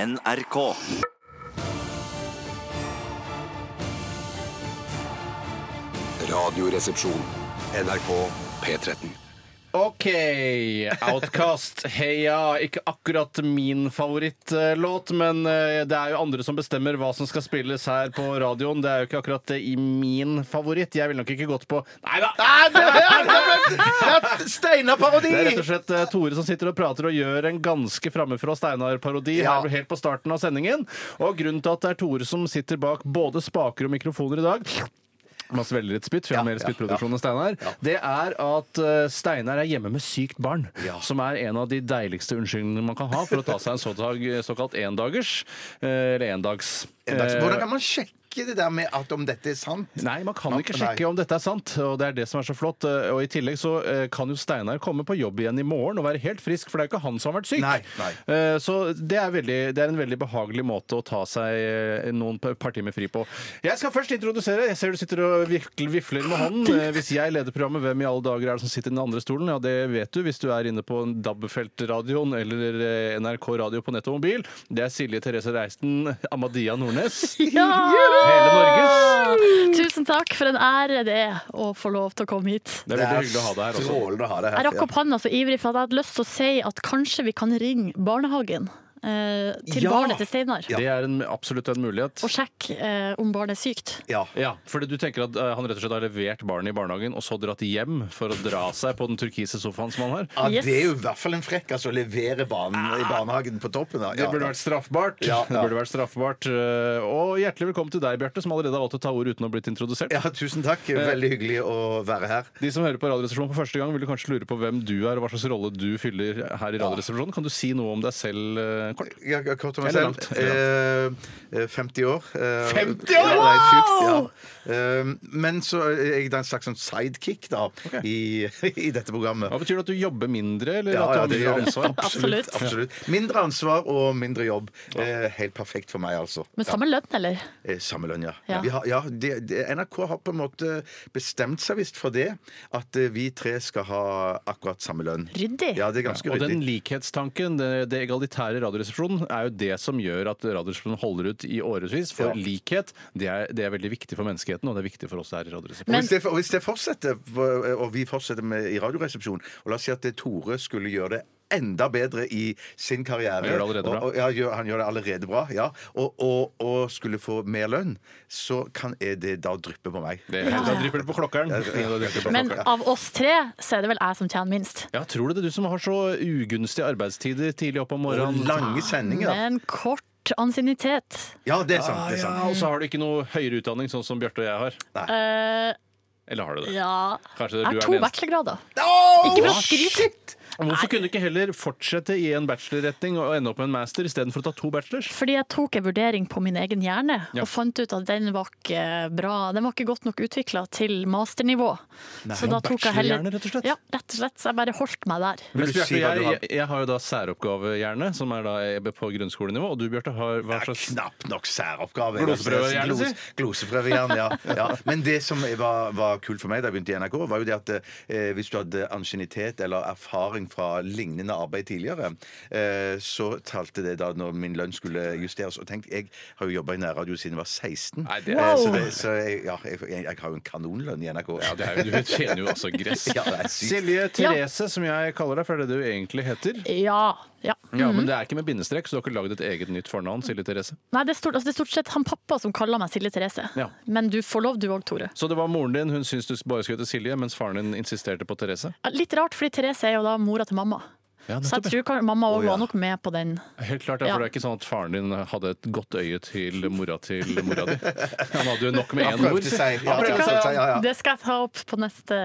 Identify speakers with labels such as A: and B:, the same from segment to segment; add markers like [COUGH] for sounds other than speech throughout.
A: NRK.
B: Radioresepsjon. NRK P13.
C: Ok, Outcast, heia. Ikke akkurat min favorittlåt, men eh, det er jo andre som bestemmer hva som skal spilles her på radioen. Det er jo ikke akkurat eh, i min favoritt. Jeg ville nok ikke gått på Nei da!
D: Steinar-parodi!
C: Det er rett og slett eh, Tore som sitter og prater og gjør en ganske framifrå Steinar-parodi
D: Ja.
C: her helt på starten av sendingen. Og grunnen til at det er Tore som sitter bak både spaker og mikrofoner i dag Masse veldig litt spytt, for jeg har mer spyttproduksjon enn Steinar. Det er at eh, Steinar er hjemme med sykt barn, som er en av de deiligste unnskyldningene man kan ha for å ta seg en sådag- såkalt endagers, eh, eller endags.
D: Hvordan kan man sjekke det der med at om dette er sant?
C: Eh, Nei, man kan
D: Nei.
C: ikke sjekke om dette er sant, og det er det som er så flott. Eh, Og i tillegg så eh, kan jo Steinar komme på jobb igjen i morgen og være helt frisk, for det er jo ikke han som har vært syk.
D: Nei, nei.
C: Eh, Så det er, veldig, det er en veldig behagelig måte å ta seg eh, noen par par timer fri på. Jeg skal først introdusere. Jeg ser du sitter og virkelig vifler med hånden. Eh, Hvis jeg leder programmet, hvem i alle dager er det som sitter i den andre stolen? Ja, det vet du hvis du er inne på DAB-feltradioen eller eh, NRK radio på nett og mobil. Det er Silje Therese Reisten, Amadia Nordnes. Hele Norges.
E: Tusen takk for en ære det er å få lov til å komme hit.
C: Det er veldig hyggelig å ha deg her også.
D: Strålende å ha deg
E: Jeg
D: her.
E: rakk opp handa så ivrig for at jeg hadde lyst til å si at kanskje vi kan ringe barnehagen eh, til
D: Ja.
E: barnet til Steinar
C: Det er en, absolutt en mulighet.
E: og sjekke eh, om barnet er sykt.
D: Ja.
C: Ja, fordi du tenker at eh, han rett og slett har levert barnet i barnehagen og så dratt hjem for å dra seg på den turkise sofaen som han har?
D: Ja,
E: Yes.
D: Det er jo i hvert fall en frekk altså, å levere barn i barnehagen på toppen. Da.
C: Ah. Det burde vært straffbart.
D: Ja, ja.
C: Det burde vært straffbart. eh, Og hjertelig velkommen til deg, Bjarte, som allerede har valgt å ta ordet uten å ha blitt introdusert.
D: Ja, tusen takk.
C: Eh.
D: Veldig hyggelig å være her.
C: De som hører på Radioresepsjonen for første gang, vil du kanskje lure på hvem du er, og hva slags rolle du fyller her i Radioresepsjonen. Kan du si noe om deg selv eh, kort?
D: Jeg, jeg, kort om meg
C: Eller
D: selv.
C: langt,
D: Eh, eh, 50 år. Eh,
C: 50 år?
D: Ja, det er sjukt, ja. Eh, men så er jeg da en slags sånn sidekick da, i, [LAUGHS] i dette programmet.
C: Hva betyr det at du jobber mindre, eller
D: Ja, ja,
C: at du
D: det
C: har
D: gjør
C: mindre
D: det. [LAUGHS]
C: ansvar?
D: Absolutt. absolutt. Mindre ansvar og mindre jobb. Eh, helt perfekt for meg, altså.
E: Med samme lønn, eller?
D: Eh, Samme lønn, ja.
E: Ja.
D: Vi har, ja det, det, NRK har på en måte bestemt seg visst for det, at eh, vi tre skal ha akkurat samme lønn.
E: Ryddig.
D: Ja, det er ganske
C: Og den
D: ryddig.
C: likhetstanken, det, det egalitære Radioresepsjonen, er jo det som gjør at Radioresepsjonen holder ut i årevis. For
D: Ja.
C: likhet det er, det er veldig viktig for menneskeheten, og det er viktig for oss her i Radioresepsjonen.
D: Og
E: Men-
D: hvis, det, og hvis det fortsetter, for- og vi fortsetter med i Radioresepsjonen, og la oss si at det Tore skulle gjøre det enda bedre i sin karriere
C: Han gjør det allerede bra.
D: Og, og, ja, gjør, han gjør det allerede bra, ja. Og, og, og skulle få mer lønn, så kan er det da dryppe på meg.
C: Det, Da drypper det på klokkeren.
D: Ja, ja.
C: Da drypper det på
E: Men
C: klokkeren.
E: av oss tre så er det vel jeg som tjener minst.
C: Ja, tror du det er du som har så ugunstige arbeidstider tidlig opp om
D: Og
C: morgenen?
D: lange sendinger.
E: Men kort ansiennitet.
D: Ja, det er sant.
C: Ah,
D: Det er
C: ja,
D: sant.
C: og så har du ikke noe høyere utdanning, sånn som Bjarte og jeg har.
E: Eh,
C: Eller har du det?
E: ja
C: Kanskje
E: Jeg
C: du
E: har
C: er
E: to
C: den eneste.
E: bachelorgrader. Ikke for å skryte.
C: Hvorfor kunne du ikke heller fortsette i en bachelorretning og ende opp med en master istedenfor å ta to bachelors?
E: Fordi jeg tok en vurdering på min egen hjerne
C: Ja.
E: og fant ut at den var ikke bra. Den var ikke godt nok utvikla til masternivå. så da tok jeg heller
C: bachelorhjerne, rett og slett.
E: Ja, rett og slett. Så jeg bare holdt meg der.
C: Mens
D: Vil du
C: Bjarte,
D: si hva
C: jeg,
D: du har-
C: jeg, jeg har jo da særoppgavehjerne, som er da EB på grunnskolenivå. Og du, Bjarte, har hva
D: Det er
C: slags
D: knapt nok særoppgave.
C: Gloseprøvejern,
D: Glos-
C: si. [LAUGHS]
D: Gloseprøvejern, ja. ja. Men det som var, var kult for meg da jeg begynte i NRK, var jo det at eh, hvis du hadde ansiennitet eller erfaring fra lignende arbeid tidligere, eh, så talte det da når min lønn skulle justeres. Og tenk, jeg har jo jobba i nærradio siden jeg var 16.
C: Nei, det er-
D: Eh, så det, så jeg, ja, jeg, jeg, jeg har jo en kanonlønn i NRK.
C: Ja, det er, jo- du tjener jo altså [LAUGHS] gress.
D: Ja, det er sykt.
C: Silje Therese, som jeg kaller deg, for det er det du egentlig heter.
E: Ja. ja.
C: Ja, Men det er ikke med bindestrek, så du har ikke lagd et eget nytt fornavn, Silje Therese.
E: Nei, det er, stort, altså det er stort sett han pappa som kaller meg Silje Therese.
C: Ja.
E: Men du får lov, du òg, Tore.
C: Så det var moren din, hun syntes du bare skulle hete Silje, mens faren din insisterte på Therese?
E: Ja, Litt rart, fordi Therese er jo da mora til mamma.
C: Ja,
E: Så jeg tror kan- mamma òg
D: Å, ja.
E: var nok med på den.
C: Helt klart, ja, for
E: Ja.
C: det er ikke sånn at faren din hadde et godt øye til mora til mora [LAUGHS] di. Han hadde jo nok med
D: Han
C: én ord.
D: prøvde seg. Ja,
C: Han
D: ja,
C: prøvde
D: ja, ja, ja.
E: Det skal jeg ta opp på neste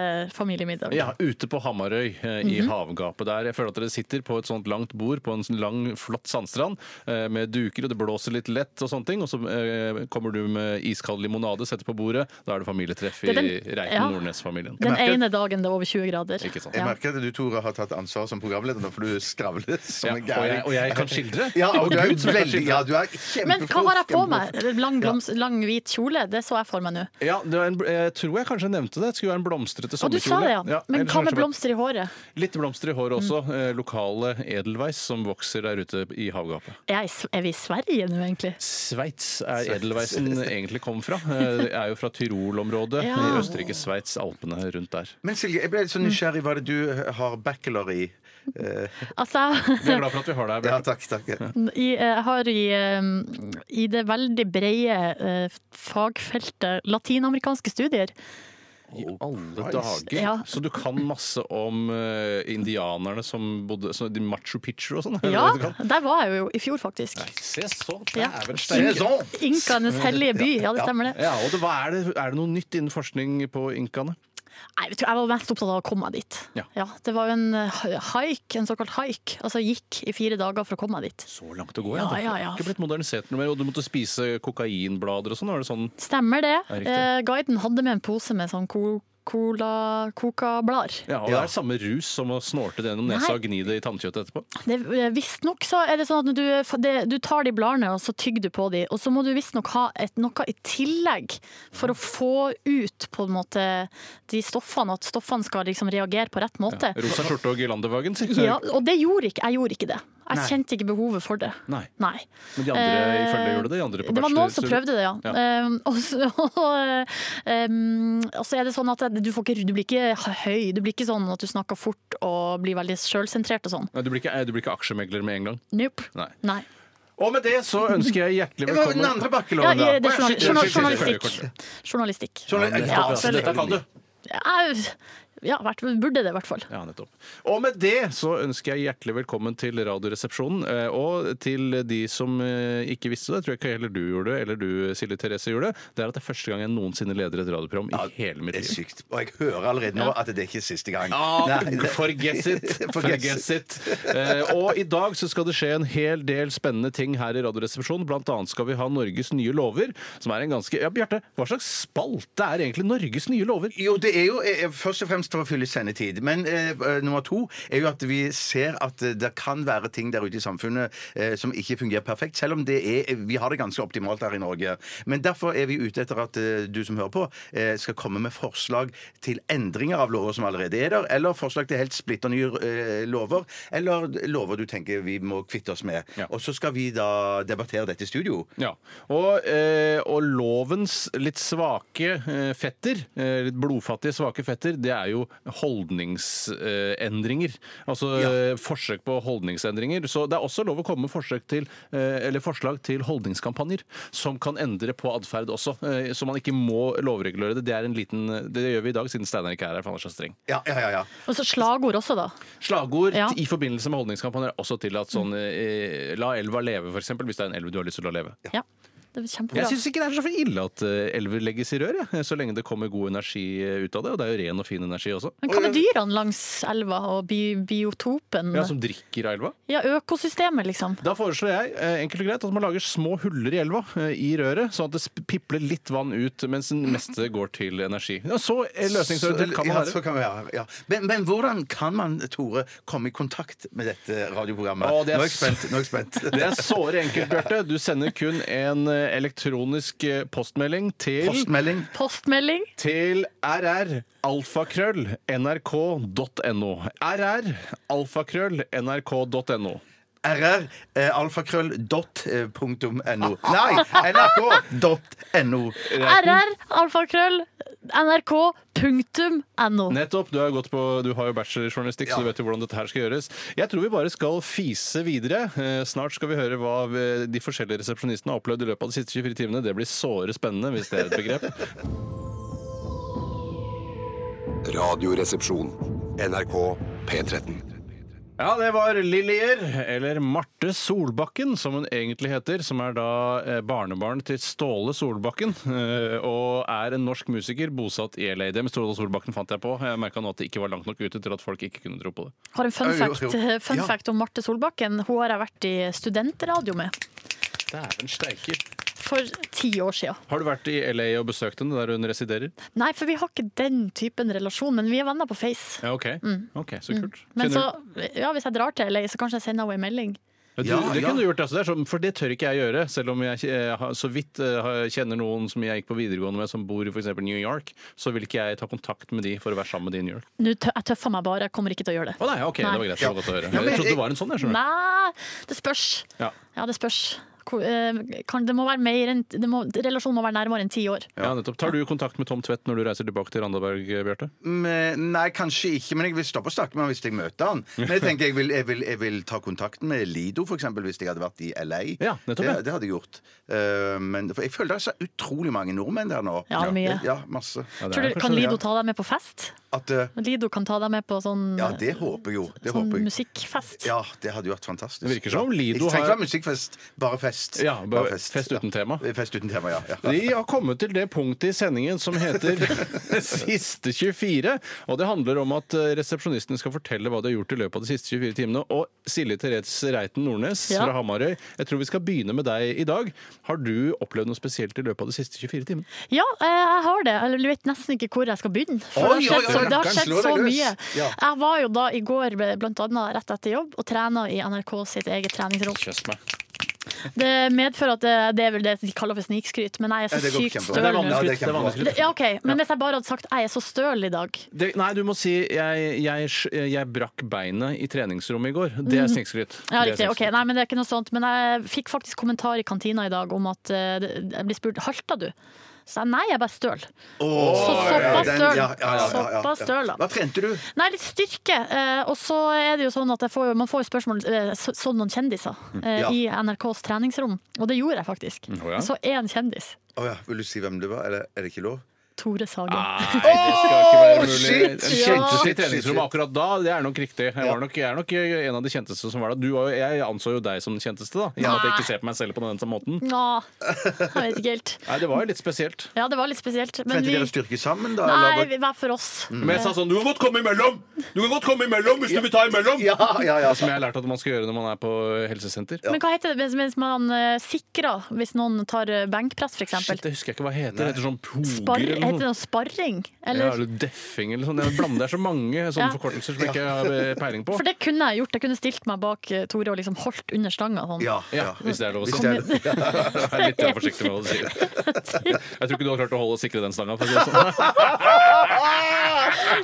E: familiemiddag.
C: Ja, ute på Hamarøy, eh, i
E: Mhm.
C: havgapet der. Jeg føler at dere sitter på et sånt langt bord på en sånn lang, flott sandstrand eh, med duker, og det blåser litt lett og sånne ting. Og så eh, kommer du med iskald limonade, setter på bordet. Da er det familietreff i
E: Det er den-
C: Reiten
E: ja.
C: Nordnes-familien.
E: Den
D: merker-
E: ene dagen det er over 20 grader.
C: Ikke sant.
D: Jeg
E: Ja.
D: merker at du, Tore, har tatt ansvar som programleder nå, for du skravler som
C: Ja,
D: en
C: og jeg-
D: gæring.
C: og jeg kan skildre.
D: Ja, og du er
C: Gud, som jeg kan
D: veldig
C: skildre.
D: ja, du er kjempeflott.
E: Men hva har jeg på meg?
D: kjempeflott.
E: Lang, blomst, lang, hvit kjole? Det så jeg for meg nå.
C: Ja, det var en, jeg tror jeg kanskje nevnte det. Det skulle være en blomstrete
E: Og du
C: sommerkjole.
E: sa det, ja. Men
C: ellers
E: hva
C: kanskje
E: med Mm.
C: bare-
E: blomster i håret?
C: Litt blomster i håret også. Eh, Lokale edelweiss som vokser der ute i havgapet.
E: Er, jeg, i Sve- er vi i Sverige nå, egentlig?
C: Sveits er [LAUGHS] edelweissen egentlig kom fra. Eh, Det er jo fra Tyrol-området
E: Ja.
C: i Østerrike, Sveits, Alpene rundt der.
D: Men Silje, jeg ble litt så nysgjerrig. Hva er det du eh, har bachelor i? Eh,
E: Altså, [LAUGHS]
C: Vi er glad for at vi har deg.
D: ja,
C: Bjarte.
D: takk, takk.
E: I, eh, jeg har i, um, i det veldig brede eh, fagfeltet latinamerikanske studier.
C: I alle
D: Christ.
C: dager!
E: Ja.
C: Så du kan masse om eh, indianerne som bodde så de Machu Picchu og sånn? er det
E: Ja,
C: det du kan?
E: der var jeg jo i fjor, faktisk.
C: Se så! Det
E: Ja.
C: er vel
D: Det
C: steike.
D: er sånn.
E: Inkaenes hellige by, ja det stemmer det.
C: Ja, og det, hva er, det, er det noe nytt innen forskning på inkaene?
E: Nei, vet du, jeg var mest opptatt av å komme meg dit.
C: Ja.
E: Det var jo en eh, haik, en såkalt haik. Altså jeg gikk i fire dager for å komme meg dit.
C: Så langt å gå,
E: Ja,
C: Det har
E: ja, ja.
C: Ikke blitt modernisert noe mer, og du måtte spise kokainblader og sånn? Var det sånn?
E: Stemmer det.
C: Ja, riktig.
E: Eh, guiden hadde med en pose med sånn co- cola, coca-blar.
C: Ja, og
D: Ja.
C: det er samme rus som å snorte det gjennom nesa og gni det i tannkjøttet etterpå?
E: eh, Visstnok så er det sånn at du, det, du tar de bladene og så tygger du på de, og så må du visstnok ha et, noe i tillegg for å få ut på en måte de stoffene, at stoffene skal liksom reagere på rett måte.
C: Rosa skjorte og Gylandevagen, sier
E: Ja, og det gjorde ikke, jeg gjorde ikke det. Jeg kjente ikke behovet for det.
C: Nei.
E: Nei.
C: Men de andre i følge gjorde det? De andre på
E: Eh, Det var noen
C: bachelor-
E: som prøvde det, ja.
C: Ja.
E: Um, [LAUGHS] og, så, og, um, og så er det sånn at du, får ikke, du blir ikke høy, du blir ikke sånn at du snakker fort og blir veldig sjølsentrert og sånn.
C: Nei, du, blir ikke, du blir ikke aksjemegler med en gang?
E: Nope.
C: Nei.
E: Nei.
C: Og med det så ønsker jeg hjertelig
D: Det var den
C: velkommen
D: andre
E: Ja,
D: bacheloren, da.
E: i- det er
D: Å, ja,
E: journal,
D: shit,
E: journal,
D: shit, shit, shit, shit.
E: journalistikk. Journalistikk.
D: Journal-
E: Ja,
D: Ja,
E: så
D: så dette kan du.
E: Au. Ja, vært- burde det i hvert fall.
C: Ja, nettopp. Og med det så ønsker jeg hjertelig velkommen til Radioresepsjonen. eh, Og til de som eh, ikke visste det, tror jeg ikke heller du gjorde det, eller du Silje Therese gjorde det, det er at det er første gang jeg noensinne leder et radioprogram i hele mitt
D: Det er
C: liv.
D: sykt. Og jeg hører allerede nå at det er ikke siste gang.
C: Ah, [LAUGHS]
D: Nei, det-
C: forget
D: [LAUGHS]
C: it! Forget it. Eh, og i dag så skal det skje en hel del spennende ting her i Radioresepsjonen. Blant annet skal vi ha Norges nye lover, som er en ganske Ja, Bjarte, hva slags spalte er egentlig Norges nye lover?
D: Jo, det er jo eh, først og fremst for å fylle sendetid. Men eh, eh, nummer to er jo at vi ser at eh, det kan være ting der ute i samfunnet eh, som ikke fungerer perfekt, selv om det er, eh, vi har det ganske optimalt her i Norge. Men derfor er vi ute etter at eh, du som hører på, eh, skal komme med forslag til endringer av lover som allerede er der, eller forslag til helt splitter nye eh, lover, eller lover du tenker vi må kvitte oss med.
C: Ja.
D: Og så skal vi da debattere dette i studio.
C: Ja, og, eh, og lovens litt svake eh, fetter, eh, litt blodfattige svake fetter, det er jo holdningsendringer. Eh, endringer. altså eh, forsøk på holdningsendringer. Så det er også lov å komme med forsøk til, eh, eller forslag til holdningskampanjer som kan endre på atferd også. Eh, så man ikke må lovregulere det. Det, er en liten, det gjør vi i dag, siden Steinar ikke er her, for han er så streng.
D: Ja, ja, ja. ja.
E: Og så slagord også, da.
C: Slagord
E: Ja.
C: i forbindelse med holdningskampanjer er også tillatt. Sånn, eh, la elva leve, f.eks., hvis det er en elv du har lyst til å la leve.
E: Ja. Det er kjempebra.
C: Jeg syns ikke det er så for ille at eh, elver legges i rør, jeg. så lenge det kommer god energi eh, ut av det. Og det er jo ren og fin energi også.
E: Men hva med dyrene langs elva og bi biotopen?
C: Ja, Som drikker av elva.
E: Ja, økosystemet, liksom.
C: Da foreslår jeg eh, enkelt og greit at man lager små huller i elva eh, i røret, sånn at det sp- pipler litt vann ut mens den meste går til energi. Ja, så eh, løsningsorientert kan man
D: Ja, så
C: være.
D: kan man være, ja. men, men hvordan kan man, Tore, komme i kontakt med dette radioprogrammet?
C: Å, det er
D: Nå er jeg
C: s-
D: spent. Nå er jeg spent.
C: [LAUGHS] Det er såre enkelt, Bjarte. Du sender kun en eh, elektronisk eh, postmelding til
D: Postmelding.
E: Postmelding.
C: til rr.alfakrøll.nrk.no. rr.alfakrøll.nrk.no.
D: RR. Eh, alfakrøll. Dot, eh, punktum
C: [LAUGHS]
D: no. Nei, nrk. Dot no.
E: RR, alfakrøll, nrk, punktum, no.
C: Nettopp. Du har, jo gått på, du har jo bachelorjournalistikk, så du vet jo hvordan dette her skal gjøres. Jeg tror vi bare skal fise videre. Eh, Snart skal vi høre hva eh, de forskjellige resepsjonistene har opplevd i løpet av de siste 24 timene. Det blir såre spennende, hvis det er et begrep.
B: Radioresepsjon. NRK P13.
C: [LAUGHS] Ja, det var Lillier, eller Marte Solbakken, som hun egentlig heter, som er da eh, barnebarn til Ståle Solbakken, eh, og er en norsk musiker bosatt i LA. Det med Ståle Solbakken fant jeg på. Jeg merka nå at det ikke var langt nok ute til at folk ikke kunne tro på det.
E: Har en fun
D: Jo, jo,
E: fact, eh,
D: jo.
E: fun
D: Ja.
E: fact om Marte Solbakken. Hun har jeg vært i studentradio med.
C: Dæven steike.
E: for ti år siden.
C: Har du vært i LA og besøkt henne der hun residerer?
E: Nei, for vi har ikke den typen relasjon, men vi er venner på Face.
C: Ja, OK. Ok, Så kult.
E: Mm. Men så,
C: Kjenner
E: ja, hvis jeg drar til LA, så kanskje jeg sender henne en melding.
C: du,
D: Ja,
C: det
D: ja.
C: kunne du gjort, altså, det er sånn, for det tør ikke jeg gjøre. Selv om jeg eh, har- så vidt eh, har- kjenner noen som jeg gikk på videregående med, som bor i for eksempel New York, så vil ikke jeg ta kontakt med de for å være sammen med de i New York.
E: Nå, tø- jeg tøffer meg bare, jeg kommer ikke til å gjøre
C: Å
E: det.
C: nei, ok,
E: Nei.
C: det var greit. Det var godt å høre.
D: men
C: Jeg trodde
D: jeg-
C: det var en sånn, jeg skjønner.
E: Nei, det spørs.
C: Ja.
E: Ja, det spørs. Hvor, eh, kan, det må være mer enn, det må, relasjonen må være nærmere enn ti år.
C: Ja, nettopp. Tar du kontakt med Tom Tvedt når du reiser tilbake til Randaberg, eh, Bjarte?
D: Men, Mm, nei, kanskje ikke, men jeg vil stoppe å snakke med han hvis jeg møter han. Men jeg tenker jeg vil, jeg vil, jeg vil ta kontakten med Lido, for eksempel, hvis jeg hadde vært i LA.
C: Ja, nettopp,
D: det,
C: ja.
D: det hadde jeg gjort. Eh, men for jeg føler det er så utrolig mange nordmenn der nå.
E: Ja, mye.
D: Ja, masse.
C: det
E: Tror
C: er
E: du, kan
C: kanskje det,
E: Lido ta deg med på fest?
D: At, eh,
E: Lido kan ta deg med på sånn,
D: ja, det håper jeg jo. Det
E: sånn
D: håper jeg.
E: musikkfest.
D: Ja, det hadde jo vært fantastisk.
C: Det virker som om Lido
D: Jeg trenger
C: har-
D: ikke være musikkfest, bare fest.
C: Ja, bare fest uten tema.
D: Fest uten tema, ja. ja.
C: Vi har kommet til det punktet i sendingen som [LAUGHS] heter Siste 24. Og det handler om at eh, resepsjonisten skal fortelle hva de har gjort i løpet av de siste 24 timene. Og Silje Therese Reiten Nordnes
E: Ja.
C: fra Hamarøy, jeg tror vi skal begynne med deg i dag. Har du opplevd noe spesielt i løpet av de siste 24 timene?
E: Ja, eh, jeg har det. Eller Jeg vet nesten ikke hvor jeg skal begynne. For
D: Oi,
E: det har skjedd,
D: oi, oi,
E: så, det har
D: rakkeren,
E: skjedd
D: slå
E: så
D: deg løs.
E: mye.
D: Ja.
E: Jeg var jo da i går blant annet rett etter jobb og trena i NRK sitt eget treningsrom.
C: Kjøss meg.
E: Det medfører at det, det er vel det de kaller for snikskryt, men jeg er
D: Ja,
E: så
D: det går
E: sykt
D: kjempebra.
E: støl
C: Det er
E: nå.
D: Ja,
C: vanlig skryt.
D: det er
C: Det er vanlig
D: kjempebra.
C: skryt.
E: Det- Ja, OK. Men hvis jeg bare hadde sagt 'jeg er så støl i dag'
C: Det, nei, du må si jeg, jeg, jeg brakk beinet i treningsrommet i går. Det er snikskryt.
E: Mhm. Ja,
C: Det er
E: riktig. Ok,
C: snikskryt.
E: nei, men det er ikke noe sånt. Men jeg fikk faktisk kommentar i kantina i dag om at eh, det- jeg blir spurt 'halta du?' Så jeg nei, jeg er bare støl. Så såpass
D: Den- ja,
E: støl.
D: ja, ja, ja, ja.
E: Såpass støl, da.
D: Hva trente du?
E: Nei, litt styrke. Eh, og så er det jo sånn at jeg får, jo- man får jo spørsmål eh, så- sånn noen kjendiser eh,
D: Ja.
E: i NRKs treningsrom. Og det gjorde jeg faktisk.
C: Å, Mm. ja.
E: Jeg Så én kjendis.
D: Å ja, vil du si hvem det var? Eller er det ikke lov?
E: Tore Sagen.
C: Nei, det skal ikke være
D: Åh,
C: mulig.
D: shit,
C: Den
D: shit,
C: kjenteste i
D: shit,
C: treningsrommet
D: shit.
C: akkurat da, det er nok riktig. Jeg, var nok, jeg er nok en av de kjenteste som var da. Du var jo, jeg anså jo deg som den kjenteste, da. I og med at jeg ikke ser på meg selv på den samme måten.
E: Nå, jeg vet ikke helt.
C: Nei, det var jo litt spesielt.
E: Ja, det var litt spesielt. Men
D: Trente
E: vi,
D: dere styrke sammen, da?
E: nei,
D: eller?
E: vi- hver for oss.
C: Men jeg sa sånn Du kan godt komme imellom! Du kan godt komme imellom hvis du vil ta imellom!
D: Ja, ja, ja.
C: Som jeg har lært at man skal gjøre når man er på helsesenter.
E: Men hva heter det mens- mens man eh, sikrer hvis noen tar eh, benkpress, f.eks.?
C: Shit, det husker jeg ikke hva det heter. Det heter sånn
E: Spar,
C: poger eller noe.
E: heter det noe sparring?
C: Ja,
E: Eller?
C: eller deffing eller sånn. Jeg blander det er så mange sånne
E: Ja.
C: forkortelser som jeg ikke har eh, peiling på.
E: For det kunne jeg gjort. Jeg kunne stilt meg bak eh, Tore og liksom holdt under stanga. Sånn.
D: Ja,
C: Ja,
D: ja.
C: hvis det er lov å
D: Hvis
C: si.
D: det er-
C: Jeg er litt forsiktig med hva du sier. Jeg tror ikke du har klart å holde og sikre den stanga. For å si det sånn.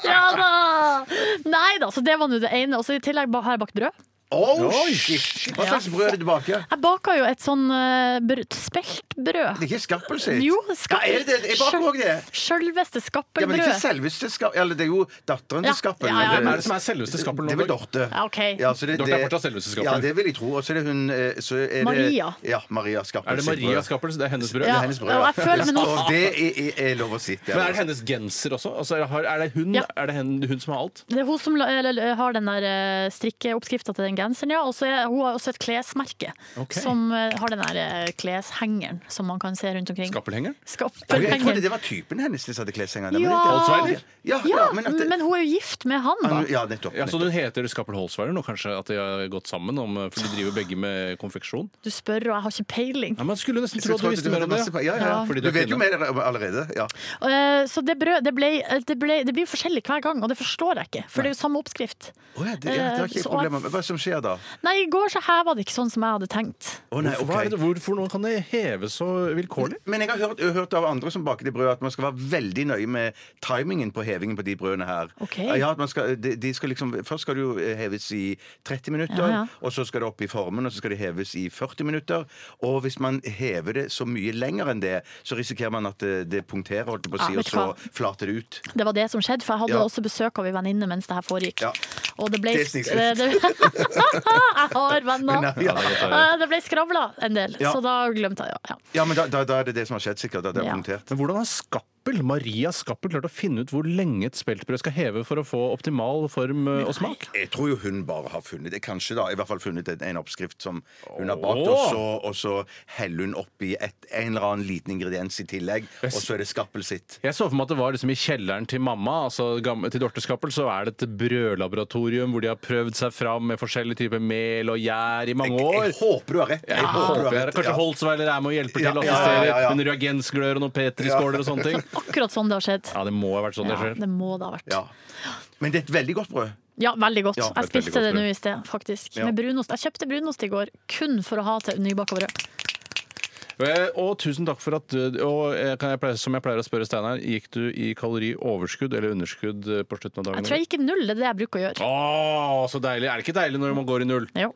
E: Ja da! Nei da, så det var nå det ene. Og så i tillegg ba- har jeg bakt brød.
D: Oh, shit. Hva slags brød er det tilbake? Det
E: Jeg baka jo et sånn eh, brød- speltbrød.
D: er ikke skappel sitt?
E: Jo,
D: Hva er det? Jeg baker også det.
E: Sjølveste
D: Ja, men det er
E: skappelbrød.
D: ikke selveste skappel. Eller det er jo datteren
E: Ja.
D: til skappel.
E: Ja,
D: men
E: ja.
D: det-
C: Hvem er det som er selveste skappel
D: Det er
C: nå?
D: vel Dorte.
E: Ja, ok.
D: så det,
C: Dorte er fortsatt selveste Skappel.
D: Ja, det vil jeg tro. Og så er det hun eh, så er det,
E: Maria.
D: Ja, Maria Skappel.
C: Er det
D: sitt
C: Maria
D: brød.
C: Skappel? Det er hennes brød?
E: Ja.
D: Det er hennes brød.
E: og jeg føler meg nå-
D: Og det er, er, er lov å si. det er
C: Men er
D: lov å
C: det
D: si.
C: hennes genser også? Altså, er det- har- er det hun,
E: Ja.
C: er det hen, hun som har alt?
E: Det er hun som la- eller, eller, har den der eh, strikkeoppskrifta til den genseren, ja. Og så er hun har også et klesmerke
C: Ok.
E: som eh, har den der eh, kleshengeren som man kan se rundt omkring.
C: Skappelhengeren?
D: Og Jeg trodde
E: Skappelhengeren.
D: det var typen hennes som hadde kleshengende.
E: Ja.
C: Holzweiler?
D: Ja, ja,
E: Ja,
D: men
E: men,
D: at det,
E: hun er jo gift med han, da.
D: ja, nettopp.
C: Ja, så
D: nettopp.
C: Hun heter Skappel Holsweiler nå, kanskje? At de har gått sammen? Om, for de driver begge med konfeksjon?
E: Du spør, og jeg har ikke peiling.
C: Ja, men jeg Skulle nesten tro
D: Jeg
C: at du
D: trodde
C: visste mer om
D: hadde
C: det.
D: masse- Ja, ja,
E: Ja.
D: ja.
C: Fordi
D: Du
C: du er
D: vet jo
C: kvinne.
D: mer allerede. Ja.
E: Eh, Så det brød, det, ble, eh, det, ble, det blir forskjellig hver gang, og det forstår jeg ikke. For det er jo samme oppskrift.
D: Å, ja, det, ja, det har ikke jeg
E: Eh, Så-
D: problemer med. Hva er det som skjer da?
E: Nei, i går så heva det ikke sånn som jeg hadde tenkt.
D: Å, nei,
C: Hva er
D: ok.
C: det, hvorfor nå kan det heve så vilkårlig?
D: Men jeg har hørt, hørt av andre som baker de brød at man skal være veldig nøye med timingen på hevingen på de brødene her.
E: Ok.
D: Ja, at man skal, de, de skal liksom, først skal det jo heves i 30 minutter,
E: Ja, ja.
D: og så skal det opp i formen, og så skal det heves i 40 minutter. Og hvis man hever det så mye lenger enn det, så risikerer man at eh, det, det punkterer, holdt jeg på å
E: Ja,
D: si,
E: Ah, vet
D: og
E: du
D: så
E: hva?
D: flater det ut.
E: Det var det som skjedde, for jeg hadde
D: Ja.
E: også besøk av ei venninne mens det her foregikk.
D: Ja.
E: Og det ble
D: Det er snikskryt.
E: [LAUGHS] Jeg har venner!
D: Nei, [LAUGHS] ja, ja.
E: Eh, Det ble skravla en del,
D: Ja.
E: så da glemte jeg ja, ja.
D: Ja, men da, da, da er det det som har skjedd, sikkert. At det er
E: Ja.
D: punktert.
C: Men hvordan har skappel Skappel, Maria Skappel, klarte å finne ut hvor lenge et speltbrød skal heve for å få optimal form eh, og smak?
D: Jeg tror jo hun bare har funnet det. Kanskje da, i hvert fall funnet en, en oppskrift som hun har bakt, og
C: Åh!
D: så, og så heller hun oppi et, en eller annen liten ingrediens i tillegg, og så er det skappel sitt.
C: Jeg så for meg at det var liksom i kjelleren til mamma, altså gam- til Dorte Skappel, så er det et brødlaboratorium hvor de har prøvd seg fram med forskjellige typer mel og gjær i mange
D: Jeg,
C: år.
D: jeg håper du har rett.
C: Jeg håper jeg har Kanskje Holtzweiler er med og hjelper til
D: Ja,
C: å
D: ja, ja,
C: assistere
D: ja, ja.
C: med reagensglør og noen petriskåler og sånne ting.
D: [LAUGHS]
E: Akkurat sånn det har skjedd.
C: Ja, det må ha vært sånn det
E: Ja,
C: skjer.
E: det må det ha vært.
D: Ja. Men det er et veldig godt brød.
E: Ja, veldig godt.
D: Ja,
E: jeg
D: et veldig
E: spiste
D: godt
E: det
D: brød.
E: nå i sted, faktisk.
D: Ja.
E: Med brunost. Jeg kjøpte brunost i går kun for å ha til nybaka brød.
C: Eh, Og tusen takk for at du- Og eh, kan jeg pleie, som jeg pleier å spørre Steinar, gikk du i kalorioverskudd eller underskudd eh, på slutten av dagen?
E: Jeg tror jeg gikk i null, det er det jeg bruker å gjøre.
C: Å, så deilig. Er det ikke deilig når man går i null?
E: Jo.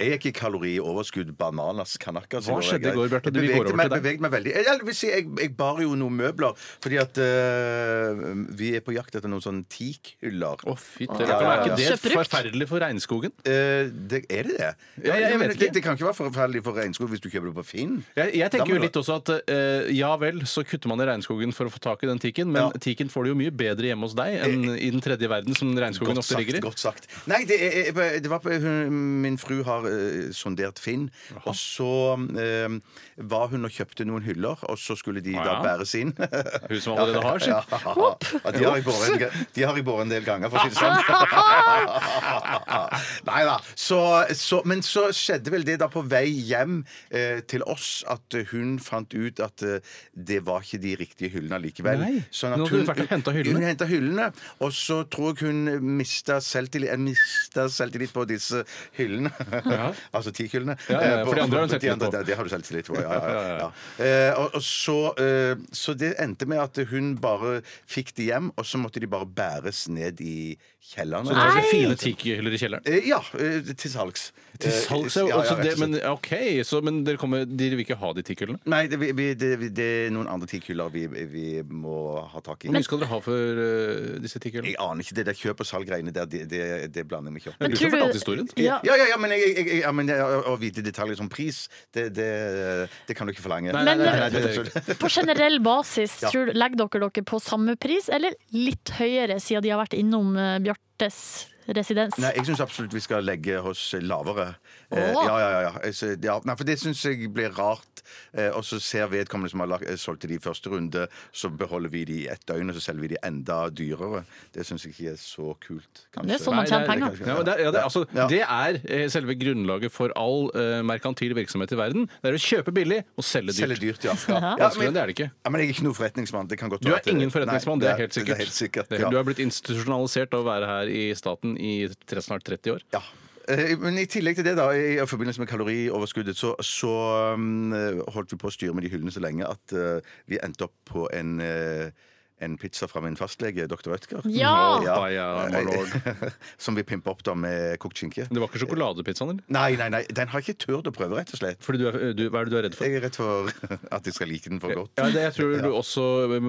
D: Jeg gikk i kalorioverskudd bananas kanakkas.
C: Hva skjedde i går, Bjarte? Vi
D: Jeg
C: går over
D: bevegte
C: til
D: meg,
C: deg.
D: bevegte meg veldig. Jeg, jeg, vil si, jeg, jeg bar jo noen møbler, fordi at eh, vi er på jakt etter noen sånne teakhyller.
C: Å, fy
D: Ja,
C: til
D: ja, ja, ja.
C: Er ikke det
E: Kjøttbrukt?
C: forferdelig for regnskogen?
D: Eh, det, er det det?
C: Ja, jeg
D: men
C: vet
D: det,
C: ikke.
D: det kan ikke være forferdelig for regnskog hvis du kjøper det på Finn.
C: Jeg, jeg
D: Da må
C: tenker jo
D: du-
C: litt også at eh, ja vel, så kutter man i regnskogen for å få tak i den tikken, men
D: Ja.
C: tikken får det jo mye bedre hjemme hos deg enn i den tredje verden, som regnskogen
D: Godt
C: ofte ligger
D: sagt.
C: i.
D: godt sagt Nei, det, er- er- det var på, hun, Min fru har eh, sondert Finn, og så eh, var hun og kjøpte noen hyller, og så skulle de
C: Ja.
D: da bæres inn. [LAUGHS]
C: Hun som allerede har sin.
D: Ja, ja, de har jeg båret en, ga- de har jeg båret en del ganger, for å
C: [LAUGHS]
D: si det sånn. Nei da. Så, så, men så skjedde vel det da på vei hjem eh, til oss at hun fant ut at eh, det var ikke de riktige hyllene likevel.
C: Nei, nå hadde du vært og hentet hyllene.
D: Hun hentet hyllene, og så tror jeg hun mista selvtillit, eh, mistet selvtillit på disse hyllene. [LAUGHS] altså teakhyllene.
C: Ja, ja,
D: Eh,
C: for de andre har hun selvtillit på.
D: de- Det har du selvtillit på, ja.
C: [LAUGHS]
D: ja, ja, ja. Eh, og, og så, eh, så det endte med at hun bare fikk de hjem, og så måtte de bare bæres ned i kjelleren.
C: Så det er
E: Nei!
C: så fine tikkehyller i kjelleren.
D: Eh, ja, eh, til salgs.
C: Til salgs er
D: Eh,
C: jo
D: ja, ja,
C: også
D: rett og
C: det,
D: slett.
C: men OK, så, men dere, kommer, dere vil ikke ha de tikkhyllene?
D: Nei, det, vi, vi- det, vi- det er noen andre tikhyller vi, vi må ha tak i.
C: Hvor mye skal dere ha for eh, disse tikkhyllene?
D: Jeg aner ikke det der kjøp- og salg-greiene der. Det, det, det blander jeg meg ikke opp i.
E: Men
C: Du
E: tror
C: som
E: du-
C: fortalte historien.
E: Ja.
D: Ja, ja, ja, men, jeg, jeg, jeg, ja, men jeg, å, å vite detaljer som pris, det, det, det kan du ikke forlange.
C: Nei,
E: Men-
C: nei, nei, nei,
D: det,
C: det er ikke.
E: På generell basis,
D: Ja.
E: tror, du- legger dere dere på samme pris, eller litt høyere, siden de har vært innom eh, Bjartes residens?
D: Nei, jeg syns absolutt vi skal legge oss lavere. Eh,
E: Åh.
D: ja, ja, ja, ja. Jeg sy- ja. Nei, for det syns jeg blir rart. Eh, og så ser vedkommende som har lagt, eh, solgt til de i første runde, så beholder vi de i ett døgn, og så selger vi de enda dyrere. Det syns jeg ikke er så kult, kanskje.
E: Det er sånn man
C: Nei, det
E: tjener
C: er-
E: penger.
C: Ja, men det, er- ja, det, er- altså,
D: Ja.
C: det er eh, selve grunnlaget for all eh, merkantil virksomhet i verden. Det er å kjøpe billig og selge dyrt.
D: Selger dyrt, ja. ja. ja
C: Vanskeligere enn det er det ikke.
D: ja, men jeg er ikke noen forretningsmann. Det kan godt
C: Du er
D: være at det-
C: ingen forretningsmann,
D: Nei,
C: det er helt sikkert.
D: Det er helt sikkert
C: Det-
D: ja.
C: Du er blitt institusjonalisert av å være her i staten i tre- snart 30 år.
D: Ja. Eh, Men i tillegg til det, da, i i forbindelse med kalorioverskuddet, så, så um, holdt vi på å styre med de hyllene så lenge at eh, vi endte opp på en eh, en pizza fra min fastlege, dr. Rødtger.
E: Ja!
C: Hoppa, ja, my lord.
D: [LAUGHS] Som vi pimpa opp da med kokt skinke.
C: Det var ikke sjokoladepizzaen, eller?
D: Nei, nei, nei, den har jeg ikke turt å prøve, rett og slett.
C: Fordi du er, du, hva er det du er redd for?
D: Jeg er redd for [LAUGHS] at jeg skal like den for godt.
C: Ja, det jeg tror du også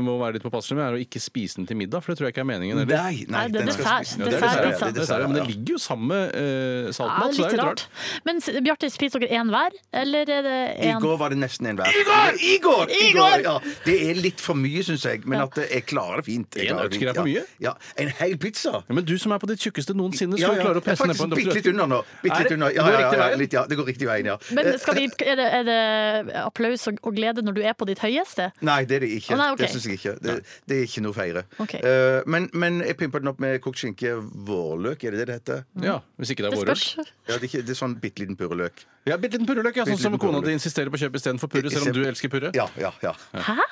C: må være litt påpasselig med, er å ikke spise den til middag. For det tror jeg ikke er meningen. eller?
D: Nei, nei,
E: Nei, det er
D: den skal
E: dessert.
D: spises.
C: Ja,
D: Ja, det er
E: Dessert,
D: dessert, ja, det
E: pizza.
C: dessert,
D: er
C: ja,
D: dessert,
C: men det
D: ja.
C: ligger jo samme eh,
E: Ja,
C: saltmat, så
E: det er
C: det er
E: litt
C: jo
E: rart. Men s- Bjarte, spiser dere én hver, eller er det
D: I
E: én?
D: går var det nesten en hver. Igor! Igor!
E: Igor!
D: Ja, det er litt for mye, syns jeg, men at eh, jeg klarer det fint. Jeg
C: En
D: klarer det
C: øtsker
D: fint,
C: er for
D: ja.
C: mye?
D: Ja, En hel pizza.
C: Ja, men du som er på ditt tjukkeste noensinne, skal jo klare å
D: Jeg er
C: presse ned på en
D: faktisk bitte litt
C: doktor.
D: under nå. Bitte
C: Er
D: litt
C: det-
D: under. Ja,
C: det går
D: ja, ja,
C: riktig
D: ja,
C: veien?
D: litt, ja, det går riktig veien, ja.
E: Men
D: Eh,
E: skal vi, er, det, er det applaus og, og glede når du er på ditt høyeste?
D: Nei, det er det ikke.
E: Å, nei, ok.
D: Det syns jeg ikke. Det, det er ikke noe å feire.
E: Ok.
D: Eh, men, men jeg pimpa den opp med kokt skinke vårløk, er det det det heter?
C: Ja, hvis ikke det er
E: Det
C: vårrull.
E: spørs.
D: Ja, det er, ikke, det er sånn bitte liten purreløk.
C: Ja, bitte liten purreløk, ja, sånn
D: Bitte
C: som
D: liten
C: kona di
D: purreløk.
C: insisterer på å kjøpe istedenfor purre, selv om du elsker purre.
D: Ja, ja, ja.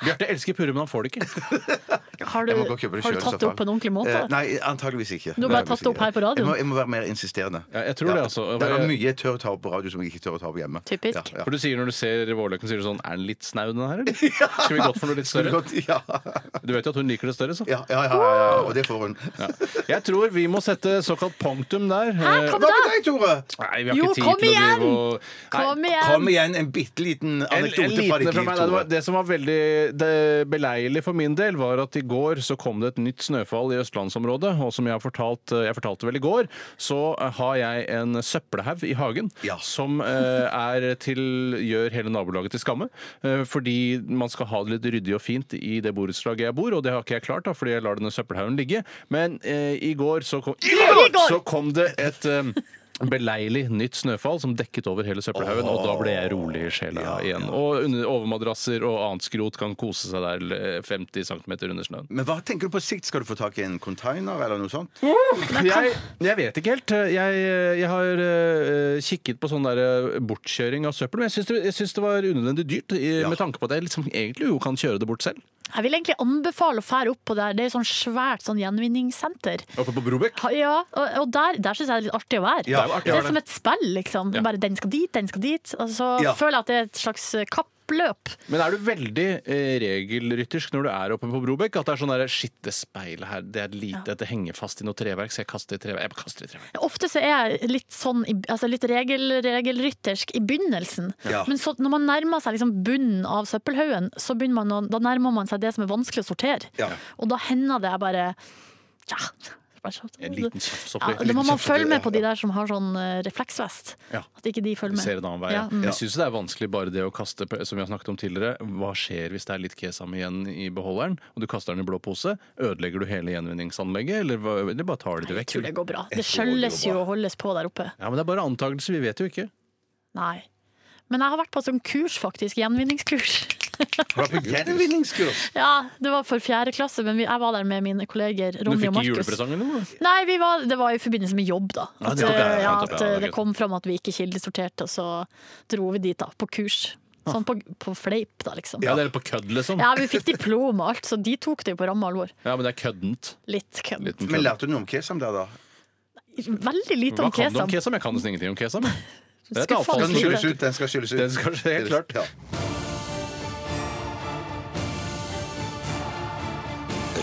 C: Bjarte elsker purre, men han får det ikke.
E: Har du,
D: Jeg må gå og kjøpe det
E: har
D: selv,
E: du
D: i
E: tatt
D: så
E: det opp på
D: fall.
E: en ordentlig måte?
D: Eh, nei, antageligvis ikke.
E: Du har bare
D: Antageligvis
E: tatt det opp
D: ikke.
E: her på
D: Jeg
E: radioen.
D: må, jeg må være mer insisterende.
C: Ja, jeg tror det, altså.
D: Det er mye jeg tør å ta opp på radio som jeg ikke tør å ta opp hjemme.
E: Typisk.
D: Ja, ja.
C: For du sier når du ser vårløken, sier du sånn Er den litt snau, den
D: [LAUGHS]
C: her, eller? Skal vi gått for noe litt
D: Skulle
C: større?
D: gått- [LAUGHS] Ja.
C: Du vet jo at hun liker det større, så.
D: Ja, ja, ja, ja, ja, og det får hun.
C: Ja. [LAUGHS] Jeg tror vi må sette såkalt punktum der. Eh,
E: Hæ, kom
D: Hva med deg, Tore?
C: Nei, vi har
E: Jo,
C: ikke tid
E: kom
C: til å
E: igjen!
C: drive og
E: Kom igjen!
D: Kom igjen, en bitte liten
C: En, en
D: anekdote fra
C: liten
D: ditt
C: fra
D: liv,
C: meg, det, var,
D: Tore.
C: det som var veldig det beleilig for min del, var at i går så kom det et nytt snøfall i østlandsområdet. Og som jeg har fortalt, eh, jeg fortalte vel i går, så har jeg en søppelhaug i hagen
D: Ja.
C: som eh, er til gjør hele nabolaget til skamme. eh, fordi man skal ha det litt ryddig og fint i det borettslaget jeg bor, og det har ikke jeg klart, da, fordi jeg lar denne søppelhaugen ligge. Men eh, i går så kom,
E: I går!
C: Så kom det et eh, Beleilig nytt snøfall som dekket over hele søppelhaugen, og da ble jeg rolig i sjela igjen. Og under, overmadrasser og annet skrot kan kose seg der eh, 50 cm under snøen.
D: Men hva tenker du på sikt? Skal du få tak i en container eller noe sånt?
E: Mm,
C: Jeg, jeg vet ikke helt. Jeg, jeg har eh, kikket på sånn der eh, bortkjøring av søppel, men jeg syns det, jeg syns det var unødvendig dyrt, i,
D: Ja.
C: med tanke på at jeg liksom, egentlig jo kan kjøre det bort selv.
E: Jeg vil egentlig anbefale å fære opp på der. Det er sånn svært sånn gjenvinningssenter.
C: Oppe på Brobekk.
E: Ha- Ja, og, og der, der syns jeg det er litt artig å være.
D: Ja,
E: det
D: ja,
E: er som et spill, liksom.
C: Ja.
E: Bare den skal dit, den skal dit. Og så
D: Ja.
E: føler jeg at det er et slags kappløp.
C: Men er du veldig eh, regelryttersk når du er oppe på Brobekk? At det er sånn der, Shit, det speilet her, det er lite, det henger fast i noe treverk, så jeg kaster i treverk. Jeg bare kaster i treverk.
E: Ofte så er jeg litt sånn i- altså litt regel, regelryttersk i begynnelsen.
D: Ja.
E: Men så, når man nærmer seg liksom bunnen av søppelhaugen, så begynner man å, da nærmer man seg det som er vanskelig å sortere.
D: Ja.
E: Og da hender det jeg bare ja, bare så-
C: En liten kjaps
E: ja,
C: oppi.
E: Da må man følge med på de der som har sånn eh, refleksvest.
C: Ja.
E: At ikke de følger med.
C: Ser en annen vei. Ja.
E: Ja, mm.
C: Jeg syns det er vanskelig bare det å kaste på- som vi har snakket om tidligere. Hva skjer hvis det er litt kesam igjen i beholderen, og du kaster den i blå pose? Ødelegger du hele gjenvinningsanlegget, eller, hva- eller bare tar du det
E: Jeg tror
C: vekk?
E: det går bra. Det
D: tror det går
E: skjølles jo og holdes på der oppe.
C: Ja, men Det er bare antakelser, vi vet jo ikke.
E: Nei. Men jeg har vært på et sånt kurs, faktisk. Gjenvinningskurs. [LAUGHS]
D: Har du vært på Gjenvinningskurs!
E: Ja, Det var for fjerde klasse, men vi- jeg var der med mine kolleger
C: Du
E: Ronny
C: fikk
E: og
C: ikke
E: Markus.
C: julepresang eller noe?
E: Nei, vi var, det var i forbindelse med jobb, da.
C: Ja,
E: At,
C: det var det,
E: eh,
C: ja,
E: ja,
C: det var
E: at
C: det, ja,
E: eh,
C: det er
E: det kom fram at vi ikke kildesorterte, og så dro vi dit da, på kurs. Sånn på, på fleip, da, liksom.
C: Ah. Ja,
E: Ja,
C: det er på kødd, liksom.
E: vi fikk diplom og alt, så de tok det jo på ramme alvor.
C: Ja, men det er køddent.
E: Litt kødd.
C: Liten
D: Men
C: kødd.
D: lærte du noe om kesam der, da?
E: Veldig lite
C: Hva
E: om
C: kan du om
E: kesam.
C: kesam? Jeg kan nesten ingenting om kesam.
E: [LAUGHS]
C: jeg. Det er et
E: Skuffende
C: avfallsprodukt.
D: Den skal
E: lite.
D: skylles ut. Den skal skylles ut.
C: Den skal skje, helt klart.
D: Ja.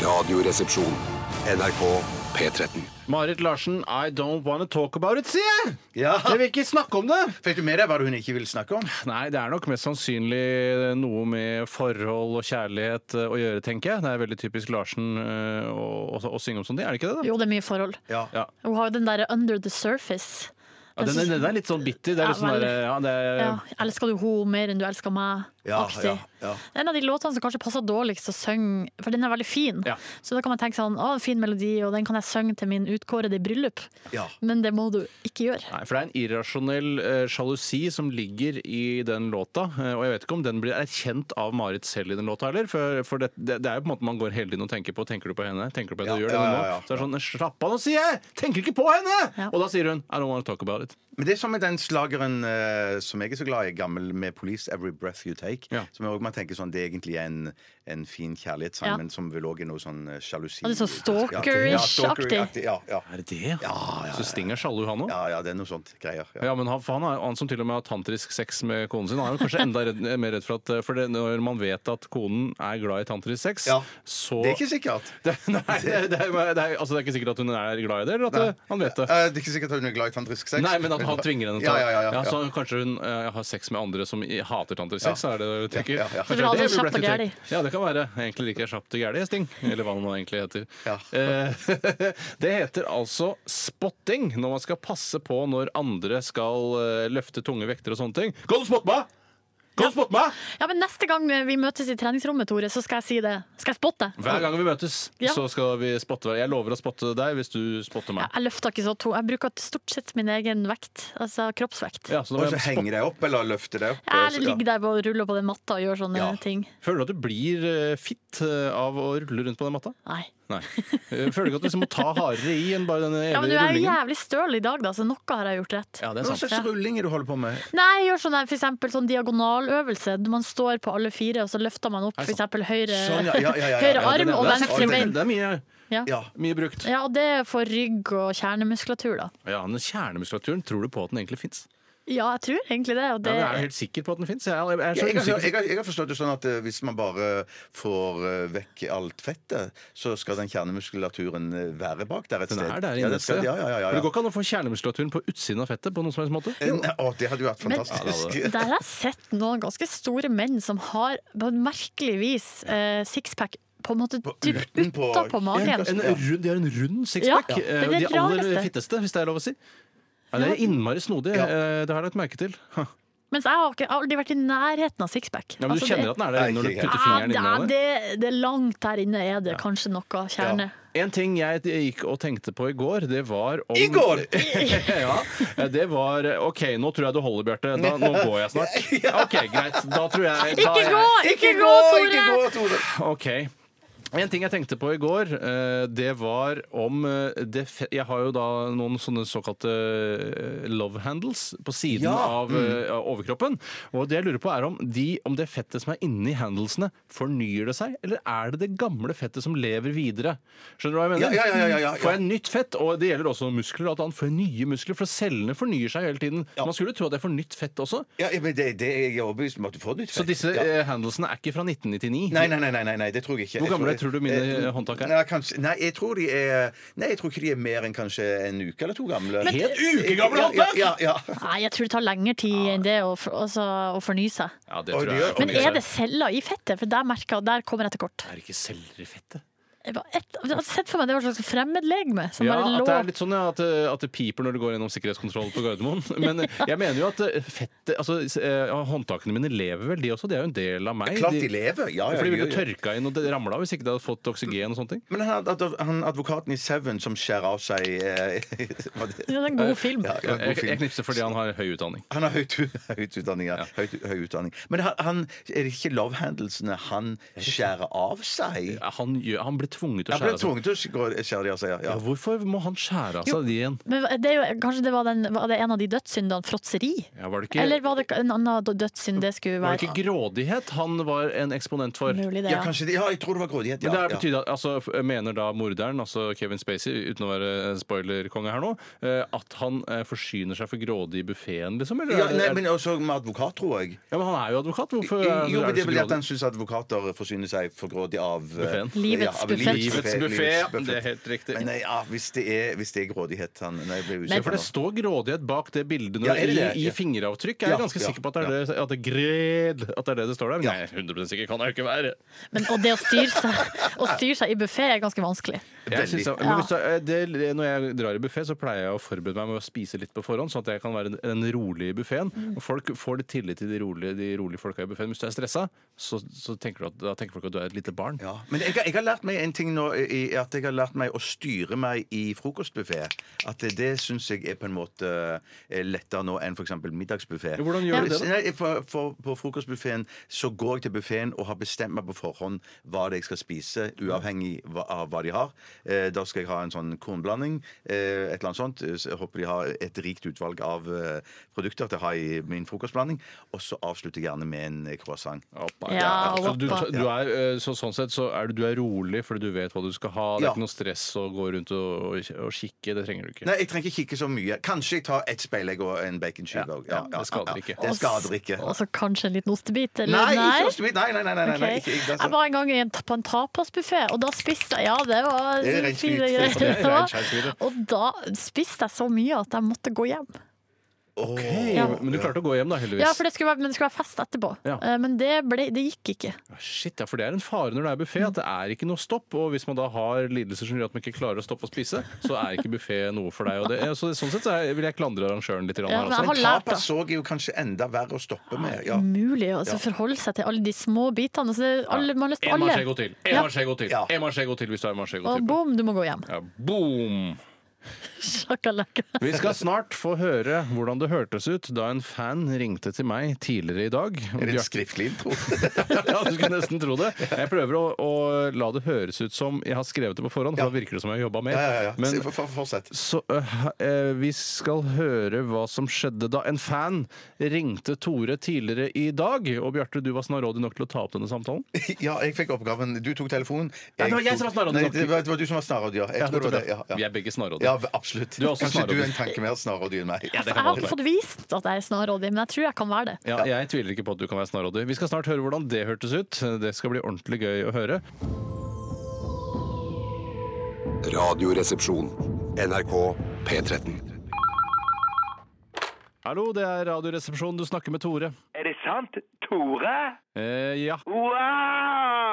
B: Radioresepsjon. NRK P13.
C: Marit Larsen, I don't wanna talk about it, sier jeg!
D: Ja.
C: Jeg vil ikke snakke om det!
D: Fikk du med deg hva hun ikke vil snakke om?
C: Nei, det er nok mest sannsynlig noe med forhold og kjærlighet eh, å gjøre, tenker jeg. Det er veldig typisk Larsen eh, å, å, å synge om sånt, er det ikke det? da?
E: Jo, det er mye forhold.
D: Ja.
C: Ja.
E: Hun har jo den derre under the surface.
C: Ja, den, den er litt sånn bitter. Det er
E: Ja,
C: litt sånn der, ja, det er,
E: Ja, elsker du henne mer enn du elsker meg?
D: Ja,
E: Aktig.
D: ja, ja.
E: Det er En av de låtene som kanskje passer dårligst å synge, for den er veldig fin.
C: Ja.
E: Så da kan man tenke sånn, å, fin melodi, og den kan jeg synge til min utkårede bryllup.
D: Ja.
E: Men det må du ikke gjøre.
C: Nei, for det er en irrasjonell eh, sjalusi som ligger i den låta. eh, og jeg vet ikke om den blir erkjent av Marit selv i den låta heller. For, for det, det, det er jo på en måte man går hele tiden og tenker på Tenker du på henne? Tenker du på henne?
D: Ja,
C: gjør det
D: ja,
C: nå?
D: ja, ja.
C: Så det er sånn Slapp av nå, sier jeg! Tenker ikke på henne!
E: Ja.
C: Og da sier hun I don't want to talk about it.
D: Men det er som med den slageren eh, som jeg er så glad i, gammel med Police, 'Every Breath You Take'.
C: Ja.
D: Som jeg også, man tenker sånn, Det er egentlig en, en fin kjærlighetssang,
E: Ja.
D: men som vel òg er noe sånn eh, sjalusi
E: Ja, det er sånn stalkerish-aktig.
D: Ja, stalker-aktig, ja, ja.
C: Er det det? Ah, Ja, Så Sting er sjalu, han òg?
D: ja, ja, det er noe sånt greier. Ja.
C: Ja, men han, for han, er, han som til og med har tantrisk sex med konen sin, han er jo kanskje enda redd, mer redd for at eh, For det, når man vet at konen er glad i tantrisk sex,
D: Ja.
C: så
D: Det er ikke sikkert.
C: det, [LAUGHS] nei,
D: [LAUGHS]
C: det, det, er- det, er- altså, det er ikke sikkert at hun er glad i det, eller at
D: Nei.
C: eh, han vet det.
D: Eh, det er ikke sikkert at hun er glad i tantrisk sex.
C: Nei, men at han tvinger henne til
D: ja, ja, ja, ja,
C: Ja,
D: ja.
C: Så kanskje hun eh, har sex med andre som i- hater tantrisk sex,
D: Ja.
C: er det det du tenker?
D: Ja, ja, ja.
C: Kanskje
E: Så vil han
C: det
E: ha
C: blir
E: kjapt og
C: Breath of
E: gæli.
C: Take. Ja, det kan være. Egentlig liker jeg kjapt og gæli, Sting. Eller hva han egentlig heter.
D: Ja.
C: Eh, [LAUGHS] det heter altså spotting, når man skal passe på når andre skal eh, løfte tunge vekter og sånne ting. Kan du spotte meg?! Kan du spotte meg?!
E: Ja, men neste gang vi møtes i treningsrommet, Tore, så skal jeg si det. Skal jeg spotte deg?
C: Hver gang vi møtes,
E: Ja.
C: så skal vi spotte hverandre. Jeg lover å spotte deg hvis du spotter
E: Jeg,
C: meg.
E: jeg løfter ikke så to. Jeg bruker stort sett min egen vekt, altså kroppsvekt.
C: Ja, så da må
D: Og så
C: jeg spotte.
D: henger de opp, eller løfter de opp. eh, så-
E: Jeg
D: ja.
E: ligger der og ruller på den matta og gjør sånne
D: Ja.
E: ting.
C: Føler du at du blir eh, fitt eh, av å rulle rundt på den matta?
E: Nei.
C: Nei. Eh, Føler du ikke at du liksom må ta hardere i enn bare denne
E: Ja, men du
C: evige
E: er
C: rullingen?
E: jævlig støl i dag, da, så noe har jeg gjort rett.
C: Ja, det er
D: Hva
C: sant.
D: slags rulling er det du holder på med?
E: Nei, jeg gjør sånn der, for eksempel sånn diagonaløvelse. Man står på alle fire, og så løfter man opp
C: Er det
E: for eksempel høyre,
D: Sånn, ja, ja, ja, ja, ja.
C: Ja,
E: høyre
C: det-
E: arm
C: det-
E: og
C: det er-
E: venstre
C: det-
E: bein.
C: Det er mye,
E: Ja.
D: Ja.
C: mye brukt.
E: ja, og det er for rygg og kjernemuskulatur, da.
C: Ja, men Kjernemuskulaturen, tror du på at den egentlig fins?
E: Ja, jeg tror egentlig det. Og
C: Ja,
E: det
C: men jeg er jo helt sikker på at den fins. Jeg er, jeg er
D: Jeg,
C: så
D: jeg, har-
C: usikker.
D: jeg, har- jeg har forstått det sånn at eh, hvis man bare får eh, vekk alt fettet, så skal den kjernemuskulaturen eh, være bak der et
C: Den
D: sted.
C: er der inne
D: ja, den
C: et
D: skal,
C: sted.
D: ja, ja, ja, ja.
C: Men Det går ikke an å få kjernemuskulaturen på utsiden av fettet på noen som helst måte.
D: Eh, nei, Å, det hadde jo vært
E: Men
D: fantastisk.
E: der har jeg sett noen ganske store menn som har på en merkelig vis eh, sixpack på en måte
D: På-
E: dypt
D: utenpå-
E: utapå magen.
C: En rund, de har en rund sixpack.
E: Ja, det er
C: Eh,
E: det
C: de aller
E: rareste.
C: fitteste, hvis det er lov å si. Ja, det er innmari snodig.
D: Ja.
C: Eh, Det har jeg lagt merke til. [LAUGHS] Huh.
E: Mens jeg har, ikke, jeg har aldri vært i nærheten av sixpack.
C: Ja, men du
E: Altså,
C: kjenner at den er der
D: Nei,
C: når du
D: ikke helt.
C: putter
E: Ja,
C: fingeren
E: det,
C: inni
E: er-
C: det.
E: det, det er langt der inne er det kanskje noe kjerne.
C: En ting jeg gikk og tenkte på i går, det var om
D: I går!
C: [LAUGHS] ja, det var OK, nå tror jeg du holder, Bjarte. Da- Nå går jeg
D: [LAUGHS]
C: snart. OK, greit. Da tror jeg da er
E: Ikke
C: jeg-
E: gå! Ikke gå, Tore!
D: Ikke gå, Tore!
C: OK. En ting jeg tenkte på i går, eh, det var om eh, det fe Jeg har jo da noen sånne såkalte eh, love handles på siden
D: Ja, mm.
C: av eh, av overkroppen. Og det jeg lurer på er om, de, om det fettet som er inni handlesene, fornyer det seg? Eller er det det gamle fettet som lever videre? Skjønner du hva jeg mener?
D: Ja, ja, ja, ja, ja, ja.
C: Får jeg nytt fett, og det gjelder også muskler, og at han får nye muskler, for cellene fornyer seg hele tiden.
D: Ja.
C: Man skulle tro at jeg får nytt fett også.
D: Ja, ja, men det, det er jeg overbevist om at du får nytt
C: Så
D: fett.
C: disse
D: ja.
C: eh, handlesene er ikke fra 1999?
D: Nei, nei, nei, nei, nei, nei, det tror jeg ikke.
C: Hvor
D: Jeg
C: gamle
D: jeg-
C: tror du mine
D: Eh,
C: håndtak er?
D: Nei, kanskje, nei, jeg tror de er Nei, jeg tror ikke de er mer enn kanskje en uke eller to gamle.
C: Helt ukegamle
D: Ja,
C: håndtak!
D: Ja, ja, ja.
E: Nei, jeg tror det tar lengre tid enn det å, for, altså, å fornye seg.
C: Ja, det
D: Oi,
C: tror
D: det
C: jeg.
D: gjør-
E: Men
D: Ok,
E: er det celler i fettet? For der merker jeg at der kommer jeg til kort.
C: Er det ikke celler i fettet?
E: Jeg bare- et- jeg har sett for meg det var et slags fremmedlegeme som
C: Ja,
E: bare
C: at
E: lå
C: det er litt sånn ja, at, eh, at det piper når du går gjennom sikkerhetskontrollen på Gardermoen. Men eh, jeg mener jo at eh, fettet altså, s- eh, ja, Håndtakene mine lever vel, de også? De er jo en del av meg.
D: Klart de lever. Ja, ja,
C: for de ville
D: ja,
C: jo
D: ja.
C: tørka inn og det ramla hvis ikke de hadde fått oksygen og sånne ting.
D: Men han, ad- han advokaten i Seven som skjærer av seg eh, [LAUGHS] var det-
E: Ja, det er en god film.
D: Eh, ja, ja,
C: Jeg,
D: god
C: jeg
D: film.
C: knipser fordi han har høy utdanning.
D: Han har høyt, høyt utdanning, ja. Høyt, høy utdanning. Men han, han, er det ikke love handlesene han skjærer av seg?
C: Ja, Han, gjør, han ble tvunget til å
D: Han ble
C: skjære av seg.
D: tvunget til å skå- skjære de av seg, ja.
C: Ja,
D: ja.
C: hvorfor må han skjære av seg de igjen?
E: Men det er jo, kanskje det var, den, var det en av de dødssyndene? Fråtseri?
C: Ja, var, det
E: Eller
C: ikke,
E: var det en annen dødssynd det skulle
C: var det ikke
E: være?
C: grådighet han var en eksponent for?
E: Mulig det,
D: Ja,
E: ja.
D: kanskje det. Ja, jeg tror det var grådighet. Ja,
C: Men det her
D: ja.
C: betyr at, altså, f- Mener da morderen, altså Kevin Spacey, uten å være spoilerkonge her nå, eh, at han eh, forsyner seg for grådig i buffeen, liksom? Eller?
D: Ja,
C: er det-
D: nei,
C: er-
D: men også med advokat, tror jeg.
C: ja, men han er jo advokat. Hvorfor
D: Jo,
C: er-
D: men
C: er
D: Det
C: du
D: er
C: så
D: vel at
C: grådig?
D: han syns advokater forsyner seg for grådig av eh,
C: Buffeten.
E: Livets
D: av
E: buffet.
C: Livets buffet, ja. Det er helt riktig.
D: Men nei, ja, hvis det er, hvis det er grådighet han Nei, jeg ble
E: Men-
C: For
D: usikker
C: det
D: nå.
C: står grådighet bak det bildet når,
D: Ja, er det det?
C: i, i
D: Ja.
C: fingeravtrykk. Jeg er
D: Ja,
C: ganske
D: ja,
C: sikker på at det er det, at det, er gred, at det er det det står der. Men
D: Ja.
C: nei, 100 sikker kan jeg jo ikke være.
E: Men, og det å styre seg, å styre seg i buffé er ganske vanskelig.
C: Jeg
D: Veldig.
C: synes, jeg- men hvis jeg- det, når jeg drar i buffé, så pleier jeg å forberede meg med å spise litt på forhånd, sånn at jeg kan være den- den rolige i
E: Mm.
C: buffeen. Folk får litt tillit til de rolige, de rolige folka i buffeen. Hvis du er stressa, så, så tenker, du at, da tenker folk at du er et lite barn.
D: Ja. Men jeg, har- jeg har lært meg en ting nå i, i At jeg har lært meg å styre meg i frokostbuffé. At det, det syns jeg er på en måte eh, lettere nå enn f.eks. middagsbuffé.
C: Ja, hvordan gjør du det da?
D: Nei, for, for, på frokostbuffeen så går jeg til buffeen og har bestemt meg på forhånd hva det er jeg skal spise, uavhengig hva, av hva de har. Eh, da skal jeg ha en sånn kornblanding, eh, et eller annet sånt. Så Jeg håper de har et rikt utvalg av eh, produkter til å ha i min frokostblanding. Og så avslutter jeg gjerne med en eh, croissant.
C: Oppa.
E: Ja,
C: Så Altså, du,
E: oppa.
C: du er, eh, så, sånn sett så er du, du er rolig fordi du vet hva du skal ha. Det er
D: Ja.
C: ikke noe stress å gå rundt og, og, og kikke. Det trenger du ikke.
D: Nei, jeg trenger ikke kikke så mye. Kanskje jeg tar ett speilegg og en baconskive
C: Ja,
D: òg.
C: ja, det skader ikke.
D: Det skader ikke.
E: Og så kanskje en liten ostebit, eller?
D: Nei, ikke ostebit. Nei, nei, nei. nei, nei, nei.
E: Ok.
D: Ikke, ikke,
E: Jeg
D: altså.
E: var en gang i en, på en tapasbuffé, og da spiste jeg Ja, det var
D: Det er rent
E: fine
D: skryt.
E: greier. [LAUGHS]
C: Det er rent skjært videre.
E: Og da spiste jeg så mye at jeg måtte gå hjem.
D: Åh.
E: Ja.
C: Men du klarte å gå hjem, da, heldigvis.
E: Ja, for det skulle være, men det skulle være fest etterpå.
C: Ja.
E: Eh, Men det, ble, det gikk ikke.
C: Ja, Shit, ja, for det er en fare når det er buffé, at det er ikke noe stopp. Og hvis man da har lidelser som gjør at man ikke klarer å stoppe å spise, så er ikke buffé noe for deg. Og det, ja, så, sånn sett så er- vil jeg klandre arrangøren litt grann
E: Ja,
C: her altså.
E: men jeg
C: også.
E: har
D: Men
E: lært, da.
D: tapas òg er jo kanskje enda verre å stoppe med. Ja.
E: Umulig å altså,
D: Ja.
E: forholde seg til alle de små bitene. Altså, det, er alle, man har lyst på
C: En
E: alle.
C: marsjego til! En
E: Ja.
C: marsjego til!
D: Ja.
C: En marsjego til hvis du er marsjego
E: Og
C: til.
E: boom, du må gå [LAUGHS] hjem.
C: Ja, boom!
E: Sjakalaka.
C: Vi skal snart få høre hvordan det hørtes ut da en fan ringte til meg tidligere i dag.
D: Er det en skriftlig
C: [LAUGHS]
D: intro?
C: ja, du skulle nesten tro det. Jeg prøver å, å la det høres ut som jeg har skrevet det på forhånd, for da virker det som jeg har jobba mer.
D: Ja, ja, ja.
C: Men
D: Så for- for- Fortsett.
C: Så øh, eh, vi skal høre hva som skjedde da en fan ringte Tore tidligere i dag. Og Bjarte, du var snarrådig nok til å ta opp denne samtalen.
D: Ja, jeg fikk oppgaven. Du tok telefonen.
C: Nei, det var jeg
D: tok-
C: som var snarrådig.
D: Nei, Det var det var du som var snarrådig, ja. Jeg tror det var det. Ja,
C: Vi
D: ja.
C: er begge snarrådige.
D: Ja, Ja, absolutt.
C: Du er også
D: Kanskje du
C: snarrådig.
D: er en tanke mer snarrådig enn meg.
E: Jeg har ikke fått vist at jeg er snarrådig, men jeg tror jeg kan være det.
C: Ja, jeg tviler ikke på at du kan være snarrådig. Vi skal snart høre hvordan det hørtes ut. Det skal bli ordentlig gøy å høre.
B: Radioresepsjon. NRK P13.
C: Hallo, det er Radioresepsjonen. Du snakker med Tore.
A: Er det sant? Tore?
C: Eh, ja.
A: Wow!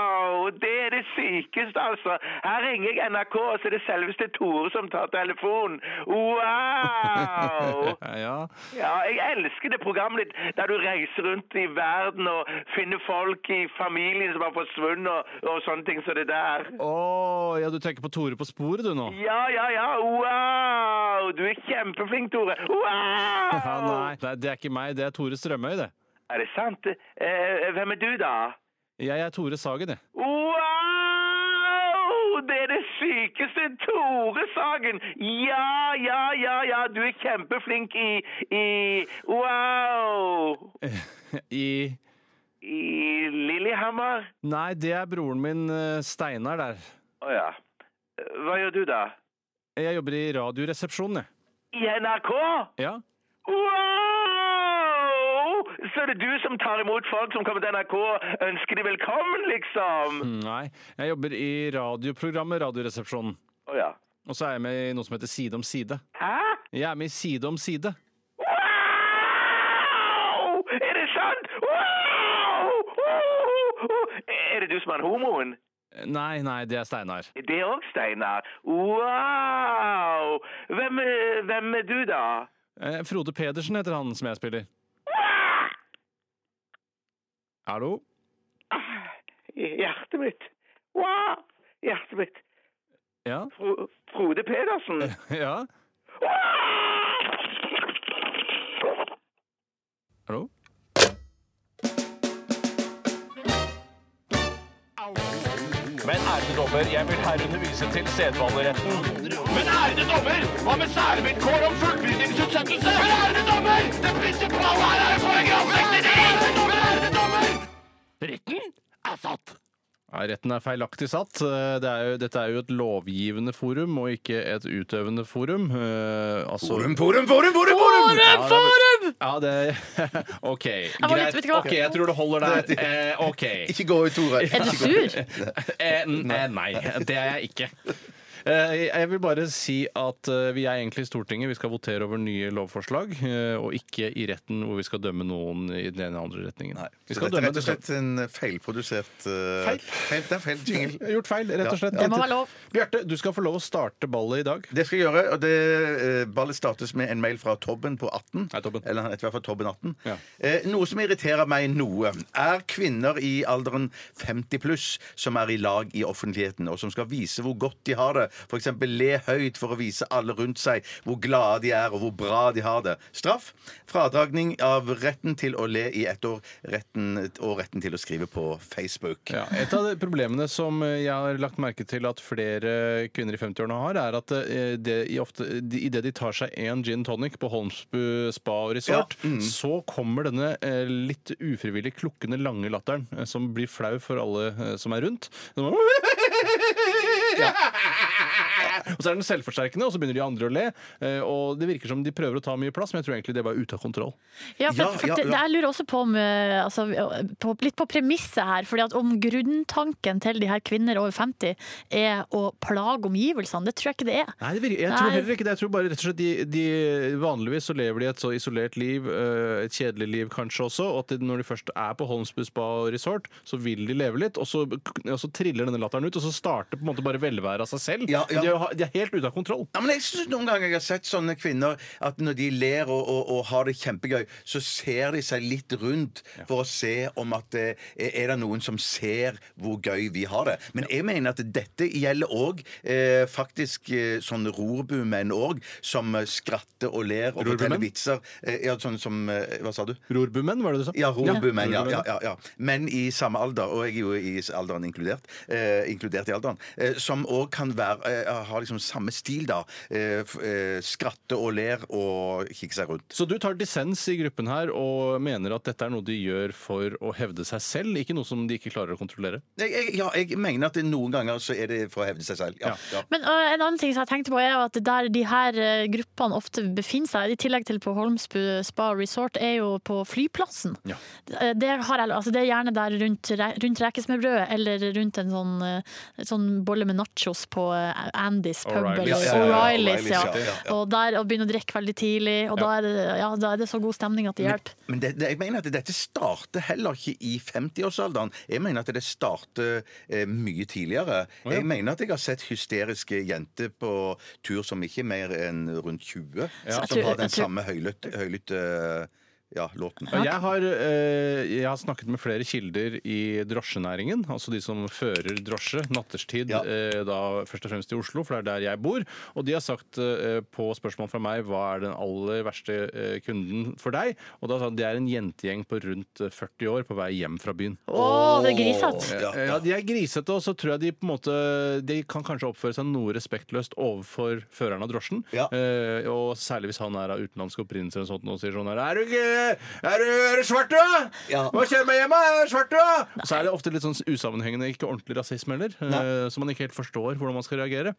A: Det er det sykeste, altså. Her ringer jeg NRK, og så er det selveste Tore som tar telefonen.
C: [LAUGHS]
A: Wow!
C: Eh, ja.
A: Ja, jeg elsker det programmet ditt, der du reiser rundt i verden og finner folk i familien som har forsvunnet, og, og sånne ting som det der.
C: Å, ja, du tenker på Tore på sporet, du nå?
A: Ja, ja, ja. Wow! Du er kjempeflink, Tore.
C: Ja,
A: Wow!
C: nei. nei, det er ikke meg. Det er Tore Strømøy, det.
A: Er det sant? Eh, hvem er du, da?
C: Jeg er Tore Sagen, jeg.
A: Wow! Det er det sykeste Tore-sagen! Ja, ja, ja, ja, du er kjempeflink i, i Wow!
C: I
A: I Lillehammer?
C: Nei, det er broren min eh, Steinar der.
A: Å ja. Hva gjør du da?
C: Jeg jobber i Radioresepsjonen, jeg.
A: I NRK?
C: Ja.
A: Wow! Så er det du som tar imot folk som kommer til NRK og ønsker de velkommen, liksom?
C: Mm, Nei, jeg jobber i radioprogrammet Radioresepsjonen.
A: Å ja.
C: Og så er jeg med i noe som heter Side om side.
A: Hæ?
C: Jeg er med i Side om side.
A: Wow! Er det sant? Wow! Wow! Er det du som er homoen?
C: Nei, nei, det er Steinar.
A: Det er òg Steinar. Wow! Hvem, eh, hvem er du, da?
C: Eh, Frode Pedersen heter han som jeg spiller. Hallo?
A: Hjertet mitt. Wow! Hjertet mitt.
C: Ja? [LAUGHS]
A: Fro Frode [LAUGHS] Pedersen.
C: Ja? Hallo?
F: Men ærede dommer, jeg vil herunder vise til sedvaneretten. Men ærede dommer, hva med særvilkår om fullbyrdingsutsettelse? Men ærede dommer, det prinsipale her er paragraf 69! Men ærede dommer, retten er satt.
C: Nei, retten er feilaktig satt. Eh, Det er jo, dette er jo et lovgivende forum, og ikke et utøvende forum. Eh, altså,
D: Forum, forum, forum, forum! forum!
C: Ja, det er vel- Ja, det [LAUGHS] OK.
E: var litt-
C: Greit.
E: vet du hva?
C: OK, jeg tror det holder der. Eh, OK.
D: [LAUGHS] Ikke gå ut, Tore.
E: Er du
C: [LAUGHS]
E: sur?
C: Eh, n- eh, nei, det er jeg ikke. Eh, Jeg vil bare si at eh, vi er egentlig i Stortinget. Vi skal votere over nye lovforslag. eh, Og ikke i retten hvor vi skal dømme noen i den ene eller andre retningen.
D: Nei.
C: Vi
D: Så
C: skal
D: dette er
C: dømme
D: rett og slett en feilprodusert eh,
C: Feil.
D: feil. Det er feil jingle.
C: Jeg har Gjort feil, rett og slett.
E: Det må være lov.
C: Bjarte, du skal få lov å starte ballet i dag.
D: Det skal jeg gjøre, og det, eh, Ballet startes med en mail fra Tobben på 18.
C: Hei, Tobben.
D: Eller han heter i hvert fall Tobben 18.
C: Ja.
D: Eh, noe som irriterer meg noe, er kvinner i alderen 50 pluss som er i lag i offentligheten, og som skal vise hvor godt de har det. F.eks. le høyt for å vise alle rundt seg hvor glade de er, og hvor bra de har det. Straff. Fradragning av retten til å le i ett år, retten, og retten til å skrive på Facebook.
C: Ja, et av de problemene som eh, jeg har lagt merke til at flere kvinner i 50-årene har, er at eh, det i ofte, de, i det de tar seg en gin tonic på Holmsbu spa og resort, så kommer denne eh, litt ufrivillig klukkende lange latteren, eh, som blir flau for alle eh, som er rundt. Så man- [LAUGHS] Og så er den selvforsterkende, og så begynner de andre å le. eh, Og det virker som de prøver å ta mye plass, men jeg tror egentlig det er bare ute av kontroll.
E: Ja,
D: Ja,
E: for, for
D: ja,
E: det,
D: ja.
E: Jeg lurer også på, om, eh, altså, på litt på premisset her. Fordi at om grunntanken til de her kvinner over 50 er å plage omgivelsene, det tror jeg ikke det er.
C: Nei, det virker, jeg tror
E: Nei.
C: heller ikke det. Jeg tror bare rett og slett de, de Vanligvis så lever de et så isolert liv, eh, et kjedelig liv kanskje også, og at de, når de først er på Holmsbu spa og resort, så vil de leve litt, og så, og så triller denne latteren ut, og så starter på en måte bare velværet av seg selv.
D: Ja, ja.
C: De, er, jo- de er helt ute av kontroll.
D: Ja, men jeg synes Noen ganger jeg har sett sånne kvinner at når de ler og, og, og har det kjempegøy, så ser de seg litt rundt for å se om at eh, er det noen som ser hvor gøy vi har det. Men jeg mener at dette gjelder òg eh, faktisk eh, sånne rorbumenn òg, som eh, skratter og ler og forteller
C: Rorbumenn?
D: vitser. Eh, ja, sånn som eh, Hva sa du?
C: Rorbumenn, var det du sa?
D: Ja, rorbumenn. Ja,
C: Rorbumenn.
D: ja, ja, ja. Menn i samme alder, og jeg er jo i alderen inkludert, eh, inkludert i alderen, eh, som òg kan være, eh, ha har liksom samme stil, da. Eh, f- eh, skratte og ler og kikke seg rundt.
C: Så du tar dissens i gruppen her og mener at dette er noe de gjør for å hevde seg selv, ikke noe som de ikke klarer å kontrollere?
D: Jeg, jeg, ja, jeg mener at det noen ganger så er det for å hevde seg selv. Ja, ja.
E: Men ø, en annen ting som jeg tenkte på er jo at der de her ø, gruppene ofte befinner seg, i tillegg til på Holmsbu spa og resort, er jo på flyplassen.
C: Ja.
E: Eh, Det, har jeg, altså det er gjerne der rundt, re- rundt rekesmørbrødet, eller rundt en sånn, ø, en sånn bolle med nachos på ø, Andys pub,
C: O'Reilly's.
E: eller
C: Ja,
D: ja, ja, ja,
E: O'Reillys, ja.
D: O'Reilly's, ja, ja.
E: Og der og begynner å drikke veldig tidlig, og da, er det, ja, da er det så god stemning at det hjelper.
D: Men det, det, jeg mener at dette starter heller ikke i 50-årsalderen. Jeg mener at det starter eh, mye tidligere. Jeg mener at jeg har sett hysteriske jenter på tur som ikke er mer enn rundt 20,
E: Så jeg
D: som
E: tror-
D: har den
E: jeg tror-
D: samme høylytte høylytt, ja, låten.
C: Og Jeg har, eh, jeg har snakket med flere kilder i drosjenæringen, altså de som fører drosje natterstid,
D: Ja.
C: eh, da først og fremst i Oslo, for det er der jeg bor. Og de har sagt eh, på spørsmål fra meg hva er den aller verste eh, kunden for deg? Og da sa han det er en jentegjeng på rundt 40 år på vei hjem fra byen.
E: Å, det er grisete!
D: Ja,
C: Eh, Ja, De er grisete, og så tror jeg de på en måte De kan kanskje oppføre seg noe respektløst overfor føreren av drosjen.
D: Ja.
C: Eh, og særlig hvis han er av utenlandsk opprinnelse eller sånt, og sier sånn her Er du, ikke- er du, er du svart, du?
D: Ja.
C: Hva kjører meg hjem, da? Er du svart, du? Og Så er det ofte litt sånn usammenhengende, ikke ordentlig rasisme heller, eh, så man ikke helt forstår hvordan man skal reagere.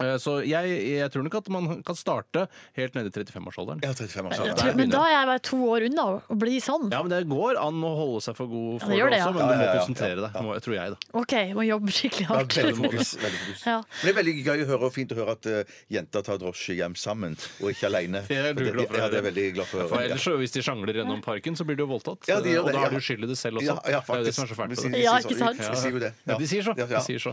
C: Eh, Så jeg, jeg tror nok at man kan starte helt nede i 35-årsalderen.
D: Jeg har 35 år siden.
E: Jeg tror- Men da er jeg bare to år unna å bli sånn.
C: Ja, men Det går an å holde seg for god for
E: gjør
C: det,
E: det, ja.
C: også, men
D: Ja,
C: du må
D: ja, ja, ja.
C: konsentrere deg, må- tror jeg. da
E: OK, må jobbe
D: Ja,
E: skikkelig hardt.
D: veldig
E: [LAUGHS]
D: fokus, veldig fokus.
E: Ja.
D: Men Det er veldig gøy å høre og fint å høre at eh, jenter tar drosje hjem sammen, og ikke alene.
C: Det er du
D: For
C: glad for å
D: ja, det er
C: høre.
D: veldig glad for å
C: For
D: høre.
C: ellers, så, hvis de sjangler gjennom parken, så blir du jo voldtatt.
D: Ja, de gjør
C: og
D: det,
C: da
D: ja.
C: har du skyld i det selv også.
D: Ja, ja,
C: det er jo det
D: faktisk.
C: som er så fælt.
D: Vi
C: med
D: sier-
C: det.
D: vi
E: Ja,
D: sier
E: ikke
D: så- vi-
E: sant?
D: Vi sier jo det.
C: Ja, de sier så.
D: Ja,
C: De sier så.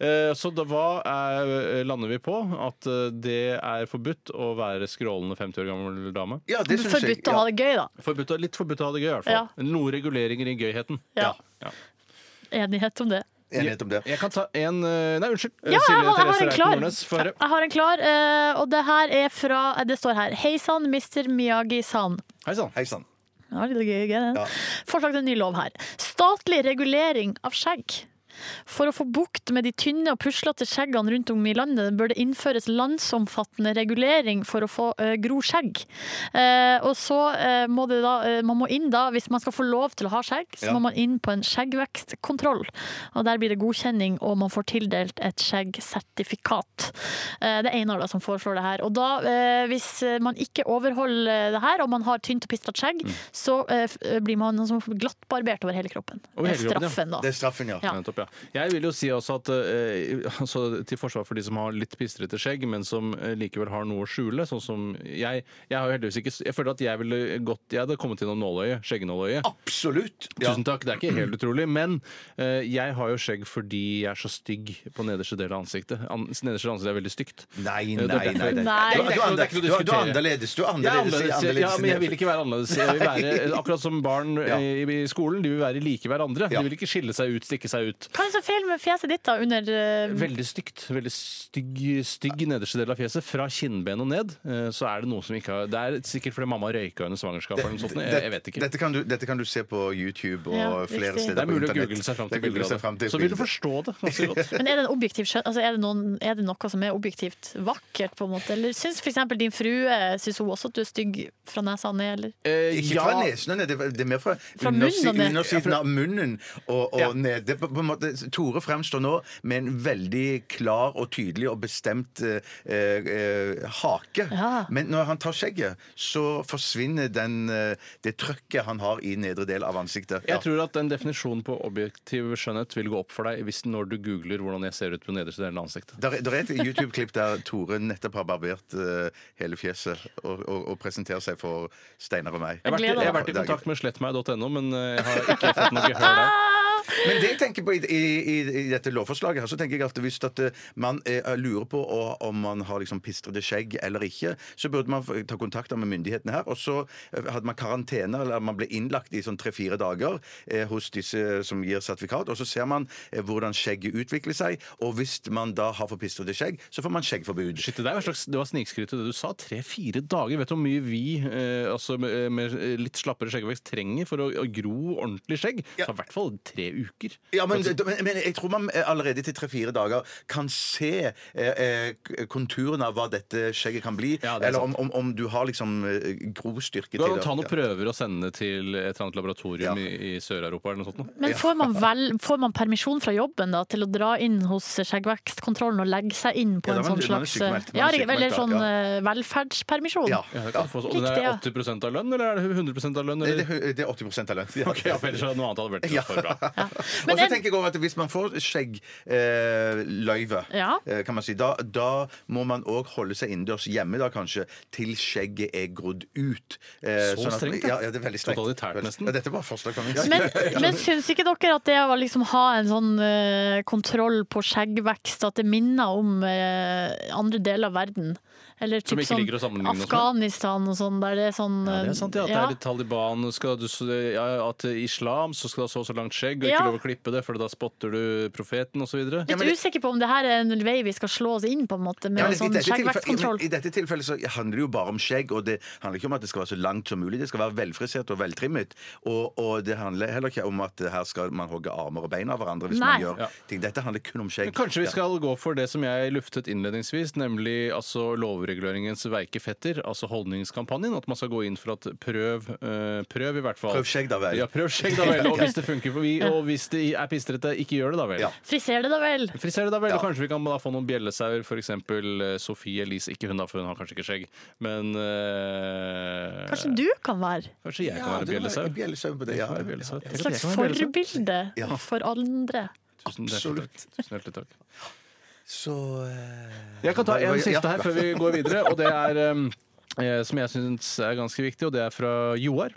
C: Eh, så da, hva er, lander vi på? At eh, det er forbudt å være skrålende 50 år gammel dame?
D: Ja, det synes jeg.
E: Forbudt å ha det gøy, da.
C: Forbudt, å- litt forbudt å ha det gøy, i hvert fall. Noen reguleringer i gøyheten.
E: Ja.
C: Ja.
E: Enighet om det.
D: Ja, enighet om det.
C: Jeg kan ta en eh, Nei, unnskyld.
E: Ja, jeg
C: Eh, Silje
E: har, jeg har
C: Therese
E: en
C: Reiten
E: klar.
C: Nordnes, få høre.
E: Jeg har en klar, eh, og det her er fra eh, Det står her. Hei sann, Mr. Miyagi-san.
C: Hei sann.
D: Hei sann.
E: Det var litt gøy, gøy, det.
D: Ja.
E: Forslag til en ny lov her. Statlig regulering av skjegg. For å få bukt med de tynne og puslete skjeggene rundt om i landet, bør det innføres landsomfattende regulering for å få eh, gro skjegg. Eh, og så eh, må det da, eh, man må inn da, hvis man skal få lov til å ha skjegg, så
D: Ja.
E: må man inn på en skjeggvekstkontroll. Og der blir det godkjenning, og man får tildelt et skjeggsertifikat. Eh, det er Einar da som foreslår det her. Og da, eh, hvis man ikke overholder det her, og man har tynt og pistet
C: Mm.
E: skjegg, så eh, f- blir man sånn som glattbarbert over hele kroppen.
C: Over hele
E: det er
C: kroppen, ja.
E: straffen da.
D: Det er straffen, ja.
E: Ja.
C: Nettopp, ja. Jeg vil jo si også at eh, altså, til forsvar for de som har litt pistrete skjegg, men som eh, likevel har noe å skjule, sånn som jeg Jeg har jo heldigvis ikke Jeg føler at jeg ville gått Jeg hadde kommet gjennom nåløyet. Skjeggenåløyet.
D: Absolutt. Ja.
C: Tusen takk, det er ikke helt utrolig, men eh, jeg har jo skjegg fordi jeg er så stygg på nederste del av ansiktet. An nederste del av ansiktet er veldig stygt. Eh,
D: Nei,
C: Det er
D: nei, nei.
C: derfor-
D: nei.
E: Nei.
D: Du, er- du, er andre-
C: Det er ikke noe å
D: du er- du er
C: diskutere.
D: annerledes. Du er
C: Jeg er
D: annerledes. i-
C: annerledes, ja,
D: annerledes i
C: men jeg
D: ned-
C: vil ikke være annerledes. Jeg vil være, eh, akkurat som barn eh,
D: Ja.
C: i, i skolen, de vil være like hverandre.
D: Ja.
C: De vil ikke skille seg ut, stikke seg ut.
E: Hva er det som er feil med fjeset ditt da, under eh,
C: Veldig stygt. Veldig stygg, stygg nederste del av fjeset. Fra kinnben og ned. eh, Så er det noe som ikke har Det er sikkert fordi mamma røyka under svangerskapet eller noe sånt. Jeg, jeg vet ikke.
D: Dette kan, du, dette kan du se på YouTube og
E: Ja, riktig.
D: flere steder
C: Det er
D: på
C: mulig å
D: internett.
C: google seg fram til
D: Det er mulig å
C: bilder
D: se
C: av
D: frem til
C: det. Så vil du
D: bilder.
C: forstå det ganske
D: [LAUGHS]
C: godt.
E: Men er det en objektiv skjønn? Altså, er, det noen, er det noe som er objektivt vakkert, på en måte? Eller syns f.eks. din frue Syns hun også at du er stygg fra nesa ned, eller?
C: Eh,
D: Ikke fra nesen og ned, det det er mer fra,
E: munnen og
D: undersi-
E: ned.
D: undersiden av munnen og, og
C: Ja.
D: ned. Det er på, på en måte, Tore fremstår nå med en veldig klar og tydelig og bestemt eh, eh, eh, hake.
E: Ja.
D: Men når han tar skjegget, så forsvinner den, eh, det trøkket han har i nedre del av ansiktet. Ja.
C: Jeg tror at en definisjon på objektiv skjønnhet vil gå opp for deg hvis når du googler hvordan jeg ser ut på nederste delen av ansiktet.
D: Der, der er et YouTube-klipp der Tore nettopp har barbert eh, hele fjeset og, og, og presenterer seg for Steinar og meg.
C: Jeg har vært,
E: gleder
C: jeg har
D: meg.
C: vært i kontakt med slettmeg.no, men eh, jeg har ikke fått noe gehør der.
E: Ah!
D: Men det jeg tenker på i, i, i, i dette lovforslaget her, så tenker jeg at hvis at eh, man eh, lurer på å- om man har liksom pistrete skjegg eller ikke, så burde man få- ta kontakt med myndighetene her. Og så eh, hadde man karantene, eller man ble innlagt i sånn tre-fire dager eh, hos disse som gir sertifikat, og så ser man eh, hvordan skjegget utvikler seg, og hvis man da har for pistrete skjegg, så får man skjeggforbud.
C: Shit, det, der var slags, det var snikskryt i det du sa. Tre-fire dager. Vet du hvor mye vi eh, altså, med, med litt slappere skjeggvekst trenger for å, å gro ordentlig skjegg?
D: Ja.
C: Ta i hvert fall tre uker.
D: Ja, men, men, men jeg tror man eh, allerede til tre-fire dager kan se eh, eh, konturene av hva dette skjegget kan bli.
C: Ja, det er
D: eller om,
C: sant.
D: om, om du har liksom eh, grostyrke
C: Du
D: til
C: kan ta noen
D: Ja.
C: prøver og sende til et eller annet laboratorium
D: Ja.
C: i, i Sør-Europa eller noe sånt. nå.
E: Men får man, vel, får man permisjon fra jobben da, til å dra inn hos skjeggvekstkontrollen og legge seg inn på
D: Ja, da man-
E: en sånn
D: man er
E: slags
D: sykemeldt, man er
E: ja, Eller
D: sykemeldt,
E: sånn
D: ja.
E: eh, velferdspermisjon?
D: Ja.
C: Ja, det
D: ja.
C: kan du få- og
E: Riktig,
C: det er
E: ja.
C: 80 av lønn, eller er det 100 av lønn?
D: Det,
C: Eller?
D: det, det er 80 av lønn. Ja.
C: Ok, ja, for ellers hadde noe annet hadde vært
D: Ja.
C: for bra.
E: Men
D: [LAUGHS] og så
E: en-
D: tenker jeg over at Hvis man får skjeggløyve, eh, løyve,
E: Ja.
D: eh, kan man si, da, da må man òg holde seg innendørs hjemme da kanskje til skjegget er grodd ut. Eh,
C: Så strengt, ja.
D: ja. ja. Det er veldig strengt.
C: Totalitært nesten.
D: Ja, dette var forslag fra min
E: [LAUGHS] Men,
D: side.
E: men syns ikke dere at det å liksom ha en sånn eh, kontroll på skjeggvekst, at det minner om eh, andre deler av verden? Eller
C: Som
E: typ
C: vi ikke
E: sånn
C: liker å sammenligne oss med?
E: Afghanistan og sånn, der det er sånn
C: Ja, det er sant, ja. At det
E: ja.
C: er litt Taliban skal du, ja, At i islam så skal du ha så og så langt skjegg, og ikke
E: Ja.
C: lov å klippe det, for da spotter du profeten osv.
E: Litt usikker på om det her er en vei vi skal slå oss inn på, en måte, med
D: Ja, men
E: en sånn
D: i, dette tilfellet,
E: skjeggvekstkontroll.
D: i, I dette tilfellet så handler det jo bare om skjegg, og det handler ikke om at det skal være så langt som mulig. Det skal være velfrisert og veltrimmet. Og, og det handler heller ikke om at her skal man hogge armer og bein av hverandre hvis
E: Nei.
D: man gjør
C: Ja.
D: ting. Dette handler kun om skjegg.
C: Kanskje vi skal gå for det som jeg luftet innledningsvis, nemlig altså lovreguleringens veike fetter, altså holdningskampanjen. At man skal gå inn for at prøv, eh, prøv i hvert fall.
D: Prøv skjegg da vel.
C: Ja, prøv skjegg da
D: [LAUGHS]
C: vel. Og hvis det funker for vi, og hvis det er pistrete, ikke gjør det da vel.
D: Ja.
E: Friser det da vel?
C: Friser det da vel,
D: Ja.
C: og kanskje vi kan da få noen bjellesauer, f.eks. Sofie Elise. Ikke hun, da, for hun har kanskje ikke skjegg, men eh,
E: Kanskje du kan være
C: Kanskje jeg
D: Ja,
C: kan være
D: du har
C: bjellesau?
D: bjellesau på det,
C: Jeg
D: ja.
C: kan være bjellesau. Tenk at
E: et
C: jeg
E: slags
C: kan være bjellesau.
E: forbilde
D: Ja.
E: for andre?
C: Tusen hjertelig takk. Tusen hjertelig takk.
D: Så eh,
C: Jeg kan ta
D: hva- hva-
C: en siste
D: ja.
C: her før vi går videre, og det er eh, som jeg syns er ganske viktig, og det er fra Joar.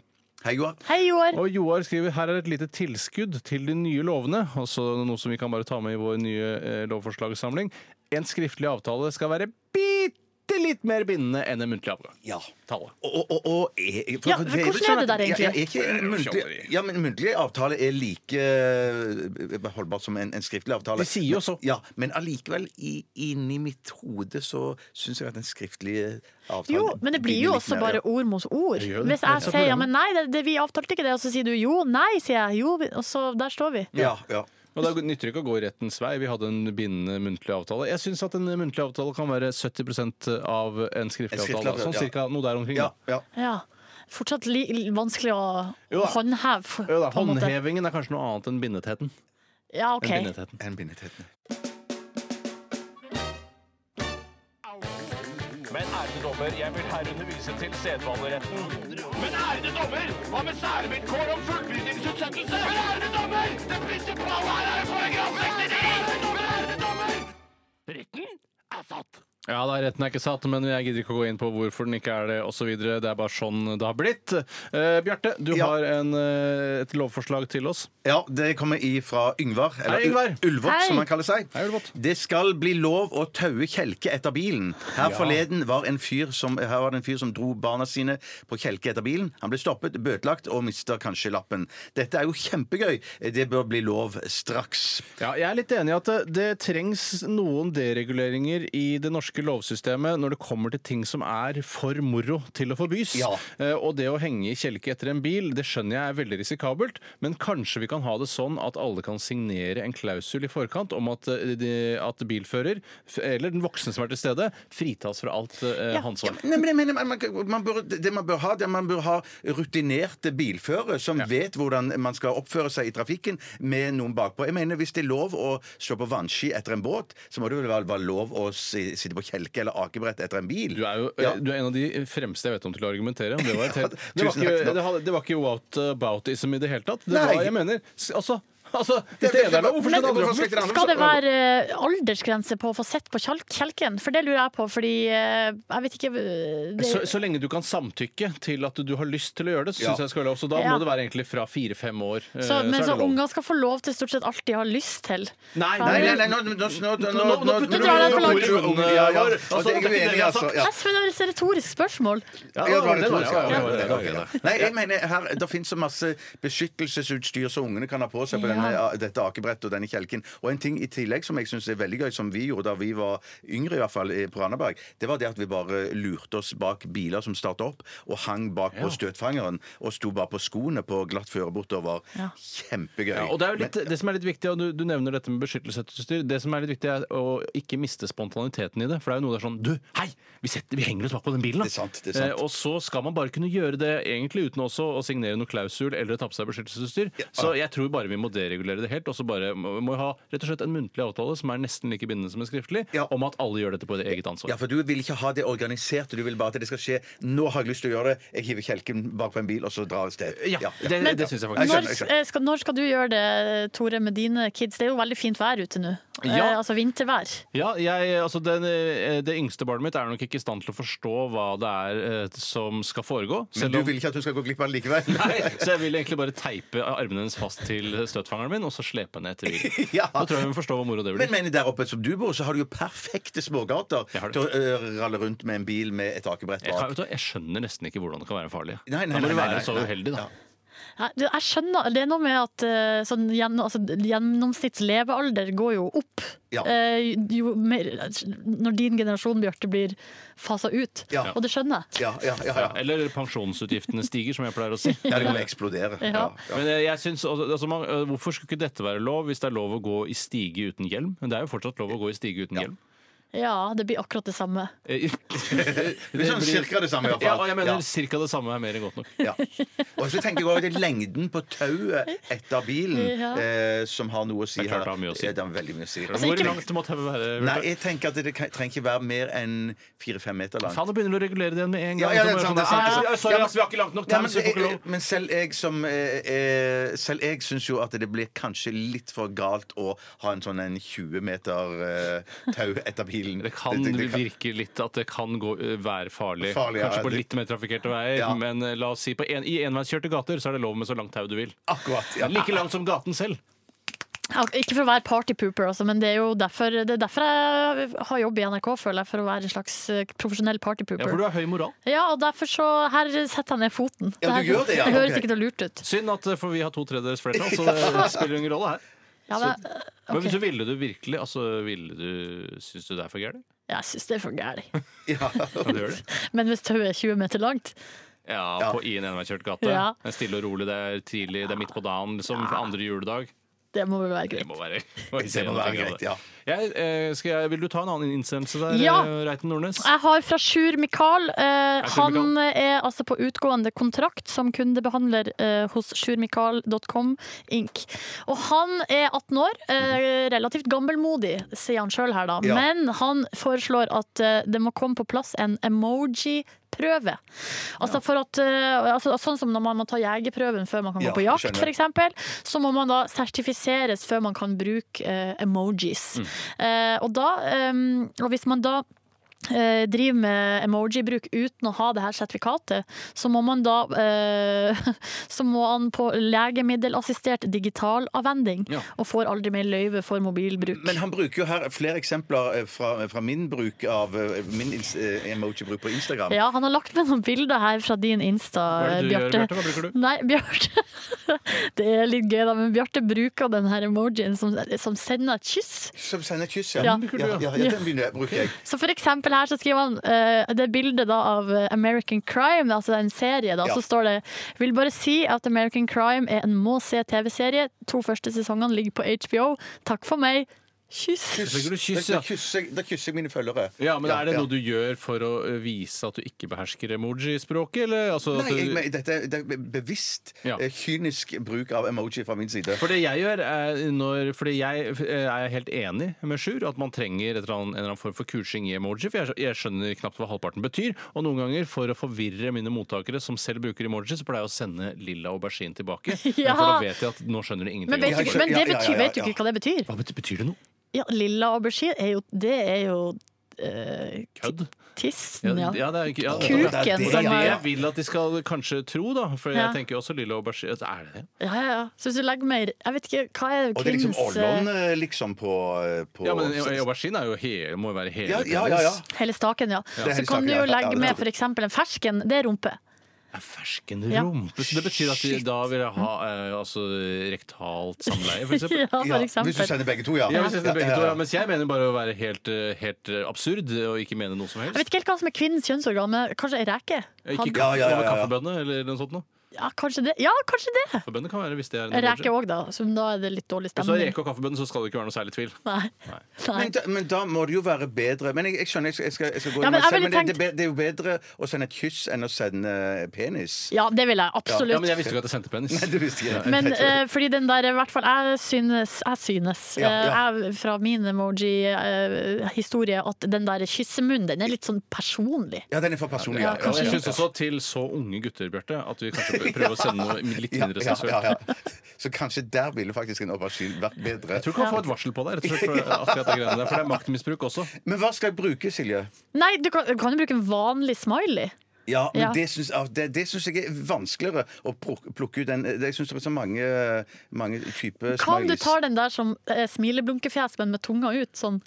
D: Hei, Joar.
E: Hei, Joar!
C: Og Joar skriver her er et lite tilskudd til de nye lovene, også noe som vi kan bare ta med i vår nye eh, lovforslagssamling. En skriftlig avtale skal være bitte litt mer bindende enn en muntlig avgang.
D: Ja.
C: Tale.
D: Og, og, og, er, for,
E: Ja,
D: for
E: men
D: jo
E: hvordan
D: sånn
E: er
D: at-
E: det der egentlig?
D: Ja, er ikke en muntlig, ja, men muntlig avtale er like eh, holdbart som en, en skriftlig avtale.
C: De sier jo så.
D: Ja, men allikevel, i, inni mitt hode så syns jeg at den skriftlige avtalen
E: Jo, men det blir jo
D: litt
E: også
D: mer,
E: bare
D: ja.
E: ord mot ord.
C: Det gjør det.
E: Hvis
C: Det er
E: jeg
C: så
E: sier ja,
C: programmet.
E: men nei, det, det, vi avtalte ikke det, og så sier du jo, nei, sier jeg, jo, vi- og så der står vi.
D: Ja, ja.
C: Og Da nytter det ikke å gå rettens vei. Vi hadde en bindende muntlig avtale. Jeg syns at en muntlig avtale kan være 70 av en skriftlig
D: En skriftlig
C: avtale.
D: avtale,
C: Sånn
D: ja.
C: cirka noe der omkring.
D: ja,
C: da.
D: ja.
E: Ja. Fortsatt li, li- vanskelig å
C: Jo da.
E: håndheve. f-
C: Jo da,
E: på en måte.
C: Håndhevingen er kanskje noe annet enn bindetheten. Enn
E: Ja, ok.
C: bindetheten.
D: En bindeteten.
F: Men ærede dommer, jeg vil herrene vise til sedvaneretten. Men ærede dommer, hva med særvilkår om fullbyrdingsutsettelse? Men ærede dommer, det prinsipale her er paragraf 69! Men ærede dommer, retten er satt.
C: Ja, da, Retten er ikke satt, men jeg gidder ikke å gå inn på hvorfor den ikke er det osv. Det er bare sånn det har blitt. Eh, Bjarte, du
D: Ja.
C: har en, eh, et lovforslag til oss.
D: Ja, det kommer ifra Yngvar. Eller
C: Hei, Yngvar.
D: U- Ulvot,
E: Hei.
D: som han kaller seg.
C: Hei, Ulvot.
D: Det skal bli lov å taue kjelke etter bilen. Her forleden var en fyr som, her var det en fyr som dro barna sine på kjelke etter bilen. Han ble stoppet, bøtelagt og mister kanskje lappen. Dette er jo kjempegøy. Det bør bli lov straks.
C: Ja, jeg er litt enig i at det, det trengs noen dereguleringer i det norske lovsystemet når det kommer til ting som er for moro til å forbys.
D: Ja.
C: Eh, og det å henge i kjelke etter en bil, det skjønner jeg er veldig risikabelt, men kanskje vi kan ha det sånn at alle kan signere en klausul i forkant om at, eh, de, at bilfører, f- eller den voksne som er til stede, fritas fra alt eh, ansvar.
D: Nei, men jeg mener, man, man bør, det man bør ha, det er man bør ha rutinerte bilførere som vet hvordan man skal oppføre seg i trafikken med noen bakpå. Jeg mener, Hvis det er lov å stå på vannski etter en båt, så må det vel være være lov å si, sitte på kjelke eller akebrett etter en bil.
C: Du er jo
D: Ja.
C: du er en av de fremste jeg vet om til å argumentere. Men det, var et helt,
D: [LAUGHS] Ja,
C: det, var
D: tusen takk.
C: ikke, det, hadde- det var ikke whataboutism i det hele tatt. Det
D: Nei.
C: var, jeg mener, s- altså, altså Hvis det
D: Det- det-
C: ene er lov, hvorfor skal
D: men
C: det andre være
D: hvorfor skal
C: forbudt?
D: ikke
E: Skal det være eh, aldersgrense på å få sett på kjal- kjelken? For det lurer jeg på, fordi eh, jeg vet ikke eh, det,
C: Så, så lenge du kan samtykke til at du har lyst til å gjøre det, så
D: Ja.
C: syns jeg det skal være lov. Så da
E: Ja.
C: må det være egentlig fra fire-fem år. eh,
E: så, Men
C: er
E: så
C: det lov.
E: unger skal få lov til stort sett alt de har lyst til.
C: Nei,
D: Nei, nei, nei, nå, nå, nå, nå, nå, nå, nå
E: Du drar deg for langt.
D: Ja, ja. Altså, jeg er uenig, altså. Ja.
E: Jeg spør deg et retorisk spørsmål.
C: Ja,
D: Ja, det var
C: det var det,
D: retorisk, ja.
C: ja, det var det, det var det.
D: Nei, jeg mener her, Det finnes så masse beskyttelsesutstyr som ungene kan ha på seg på den
E: Ja.
D: eh, dette akebrettet og denne kjelken. Og en ting i tillegg som jeg syns er veldig gøy, som vi gjorde da vi var yngre, i hvert fall eh, på Randaberg, det var det at vi bare lurte oss bak biler som starta opp, og hang bak på støtfangeren og sto bare på skoene på glatt føre bortover. Kjempegøy.
C: Ja, og det, er jo litt, eh, det som er litt viktig, og du, du nevner dette med beskyttelsesutstyr, det som er litt viktig er å ikke miste spontaniteten i det. For det er jo noe der sånn Du, hei! Vi, setter, vi henger oss bak på den bilen! da!»
D: Det er sant, det er sant.
C: Eh, og så skal man bare kunne gjøre det egentlig uten også å signere noe klausul eller ta på seg beskyttelsesutstyr. Så jeg tror bare vi må deregulere det helt, og så bare må må vi ha rett og slett en muntlig avtale som er nesten like bindende som en skriftlig,
D: Ja.
C: om at alle gjør dette på eget ansvar.
D: Ja, for du vil ikke ha det organisert, du vil bare at det skal skje. Nå har jeg lyst til å gjøre det. Jeg hiver kjelken bak på en bil, og så drar jeg av sted.
C: Ja, det,
E: Men-
C: det syns jeg
D: Jeg
C: faktisk.
E: Når,
D: skjønner, jeg skjønner.
E: eh, skal, når skal du gjøre det, Tore, med dine kids? Det er jo veldig fint vær ute nå.
C: Ja.
E: Eh, altså vintervær.
C: Ja, jeg, altså den, eh, Det yngste barnet mitt er nok ikke i stand til å forstå hva det er eh, som skal foregå.
D: Men
C: selv
D: du
C: om-
D: vil ikke at hun skal gå glipp av det likevel?
C: Nei, [LAUGHS] så jeg vil egentlig bare teipe armene hennes fast til støtfangeren min, og så slepe henne etter bilen.
D: [LAUGHS] Ja.
C: Nå tror jeg hun forstår hvor moro det
D: Men,
C: blir.
D: men der oppe som du bor, så har du jo perfekte smågater
C: Jeg har det.
D: til å ø, ralle rundt med en bil med et akebrett
C: Jeg, kan,
D: bak.
C: vet du, hva, jeg skjønner nesten ikke hvordan det kan være farlig.
D: Nei,
C: da må
D: nei, nei,
C: du
D: nei,
C: være
D: nei,
C: så
D: nei.
C: uheldig, da.
D: Ja.
E: Nei, du, Jeg skjønner, Det er noe med at eh, sånn, gjenn- altså, gjennomsnitts levealder går jo opp.
D: Ja.
E: Eh, jo mer, når din generasjon, Bjarte, blir fasa ut.
D: Ja.
E: Og det skjønner jeg.
D: Ja, ja, ja,
C: Ja,
D: ja.
C: eller pensjonsutgiftene stiger, som jeg pleier å si.
D: [LAUGHS] Ja, det kommer til å eksplodere.
E: Ja.
D: Ja. Ja.
C: Men eh, jeg synes, altså, altså, man, eh, Hvorfor skulle ikke dette være lov, hvis det er lov å gå i stige uten hjelm? Men det er jo fortsatt lov å gå i stige uten
D: [LAUGHS]
C: hjelm.
E: Ja, det blir akkurat det samme.
C: Eh, [LAUGHS] det
D: Det blir sånn cirka det samme, i hvert
C: Ja, og
D: fall.
C: jeg mener cirka det samme er mer enn godt nok.
D: Ja. Og så tenker jeg også at lengden på tauet etter bilen
E: Ja.
D: eh, som har noe å si
C: Det er klart
D: her.
C: det har mye å si.
D: Ja, det har veldig mye å si.
C: Hvor langt må tauet være?
D: Nei, jeg tenker at det kan- trenger ikke være mer enn fire-fem meter langt.
C: Faen, nå begynner du å regulere det igjen med en gang.
D: Ja, ja, det
C: Du må
D: er
C: gjøre
D: sant,
C: sånn,
D: det er sant, det er sant.
C: «Nei, Sorry,
D: Ja, men-
C: ass, vi har ikke langt nok
D: Ja,
C: tau,
D: men,
C: så vi får ikke lov.
D: men selv jeg som eh, eh, Selv jeg syns jo at det blir kanskje litt for galt å ha en sånn en 20 meter eh, tau etter bilen.
C: Det kan virke litt at det kan gå, ø, være farlig.
D: Farlig, ja.
C: Kanskje på litt mer trafikkerte veier,
D: Ja.
C: men ø, la oss si på en, i enveiskjørte gater så er det lov med så langt tau du vil.
D: Akkurat. Ja.
C: Like langt som gaten selv.
E: Ja, Ikke for å være partypooper, altså, men det er jo derfor, det er derfor jeg har jobb i NRK, føler jeg. For å være en slags eh, profesjonell
C: Ja, for
E: partypooper.
C: du har høy moral.
E: Ja, og derfor så Her setter jeg ned foten.
D: Ja, du
E: her,
D: gjør det, ja,
E: høres
D: ok.
E: ikke noe lurt ut.
C: Synd at ø, for vi har to tredjedels flertall,
D: [LAUGHS]
C: så det spiller ingen rolle her.
E: Ja, men,
C: Men
E: Ok.
C: hvis du ville du virkelig, altså ville du Syns du det er for gærent?
E: jeg syns det er for gærent. [LAUGHS]
D: Ja.
C: Ja, du gjør det.
E: Men hvis tauet er 20 meter langt
C: Ja, på i en enveiskjørt gate.
E: Ja.
C: Det er stille og rolig, det er tidlig, det er midt på dagen, liksom. Andre juledag.
E: Det må vel være
C: Det
E: greit.
C: må være,
D: Det må være greit, ja.
C: Jeg, eh, skal jeg, vil du ta en annen innsendelse der,
E: Ja.
C: eh, Reiten Nordnes?
E: Jeg har fra Sjur Mikael. Eh,
C: Sjur
E: han
C: Mikael.
E: er altså på utgående kontrakt som kundebehandler eh, hos sjurmikael.com Inc. Og han er 18 år, eh, relativt gammelmodig, sier han sjøl her, da.
D: Mhm. Ja.
E: Men han foreslår at eh, det må komme på plass en emoji. Prøve. Altså for at, eh, altså, sånn som når man må ta jegerprøven før man kan
D: Ja,
E: gå på jakt,
D: skjønner.
E: for eksempel, så må man da sertifiseres før man kan bruke eh, emojis.
D: Mm.
E: Eh, og, da, em, og hvis man da eh, driver med emoji-bruk uten å ha det her sertifikatet, så må man da eh, [LAUGHS] så må han på legemiddelassistert digitalavvending
C: Ja.
E: og får aldri mer løyve for mobilbruk.
D: Men han bruker jo her flere eksempler eh, fra, fra min bruk av eh, min ins- eh, emoji-bruk på Instagram.
E: ja, han har lagt med noen bilder her fra din Insta,
C: Hva er det du gjør,
E: Bjarte.
C: Bjarte? Hva bruker du?
E: Nei, Bjarte [LAUGHS] Det er litt gøy, da, men Bjarte bruker den her emojien som, som sender et kyss.
D: Som sender kyss, ja.
E: Ja.
D: Ja, ja, ja, den begynner, bruker jeg.
E: Så for eksempel her så skriver han eh, det bildet da av eh, American Crime, altså en serie, da,
D: Ja.
E: så står det Vil bare si at American Crime er en må se TV-serie. To første sesongene ligger på HBO. Takk for meg. Kyss.
C: bruker du kyss,
D: da,
C: ja.
D: da, kysser, jeg- da kysser jeg mine følgere.
C: Ja, men Er det
D: ja.
C: noe du gjør for å ø, vise at du ikke behersker emoji-språket? eller? Altså, at
D: Nei, jeg,
C: du-
D: men, dette er, det er bevisst
C: Ja.
D: eh, kynisk bruk av emoji fra min side.
C: for det jeg gjør er når, fordi jeg eh, er helt enig med Sjur at man trenger et eller annet, en eller annen form for kursing i emoji. For jeg, jeg skjønner knapt hva halvparten betyr. Og noen ganger, for å forvirre mine mottakere som selv bruker emoji, så pleier jeg å sende lilla aubergine
E: [LAUGHS]
C: tilbake.
E: Ja.
C: Men For da vet jeg at nå skjønner de
E: Men,
C: ingenting. om
E: vet du,
C: det.
E: ikke- men
D: Ja,
E: det
D: ja, ja,
E: betyr,
D: ja,
E: vet du
D: ja.
E: ikke hva det betyr?
C: Hva betyr, betyr det noe?
E: Ja, lilla aubergine er jo Det er jo eh,
C: Kødd?
E: tissen, ja.
C: ja, det er, ikke- ja,
E: Kuken
C: det er det
D: som
C: jeg
D: er-
C: vil at de skal kanskje tro, da. For
E: Ja.
C: jeg tenker jo også lilla aubergine. Altså, Er det det?
E: Ja, ja, ja. Så hvis du legger mer Jeg vet ikke, hva er
D: Og det er liksom
E: kvinnens
D: Ollon
E: eh,
D: eh, liksom på, eh, på
C: Ja, men aubergine er jo hele, må jo være hele
D: ja, ja, ja, ja.
E: Hele staken, ja.
D: Det er
E: Så
D: hele
E: kan
D: staken,
E: du
D: ja.
E: jo
D: Ja,
E: legge
D: det-
E: med f.eks. en fersken. Det er rumpe. [LAUGHS]
C: Ja, fersken
E: Ja.
C: rumpe. Så det betyr at de da vil jeg ha eh, altså, rektalt samleie, for eksempel?
E: [LAUGHS] Ja, for
D: hvis du
E: eksempel.
D: sender begge to, ja.
C: Ja, hvis jeg ser begge to,
D: Ja,
C: ja, mens jeg mener bare å være helt, eh, helt eh, absurd og ikke mene noe som
E: Jeg vet
C: helst.
E: ikke helt hva som er kvinnens kjønnsorgan, men kanskje ei reke?
C: Ikke
E: Han-
C: kaffe,
D: Ja, ja, ja, ja, ja.
C: kaffebønne eller noe sånt noe.
E: Ja, kanskje det. Ja, kanskje det.
C: Kaffebønne kan være hvis det er
E: Ei
C: en
E: reke òg, da. Så da er det litt dårlig
C: Hvis du har
E: stemning.
C: reke og kaffebønne, så skal det ikke være noe særlig tvil.
E: Nei. Nei.
D: Men da, men da må det jo være bedre Men jeg, jeg skjønner, jeg skal, jeg skal, jeg skal gå
E: Ja,
D: inn
E: men
D: meg
E: jeg
D: selv,
E: ville
D: men det, det, er be- det er jo bedre å sende et kyss enn å sende eh, penis.
E: Ja, det vil jeg
C: Ja,
E: absolutt.
C: men jeg visste ikke at jeg sendte penis.
D: [LAUGHS] Nei, det visste ikke jeg.
E: Men eh, fordi den der, i hvert fall jeg synes, jeg synes
D: Ja, ja.
E: eh, Jeg, fra min emoji-historie, at den der kyssemunnen, den er litt sånn personlig.
D: Ja, den er for personlig.
E: Ja,
C: Ja, jeg
E: Kanskje
C: syns også til så unge gutter, Bjarte, at vi kanskje bør prøve å sende noe litt
D: [LAUGHS] Ja,
C: mindre
D: ja, ja,
C: sensuelt.
D: ja. Så kanskje der ville faktisk en aubergine vært bedre.
C: Jeg tror du kan få et varsel på deg, rett og slett, for akkurat de greiene der, for det er maktmisbruk også.
D: Men hva skal jeg bruke, Silje?
E: Nei, du kan, du kan jo bruke en vanlig smiley.
D: Ja, men
E: Ja.
D: Det syns ja, det, det syns jeg er vanskeligere å pluk- plukke ut. En, jeg syns det er så mange, mange typer
E: Hva om du tar den der som eh, smileblunkefjes, men med tunga ut? Sånn.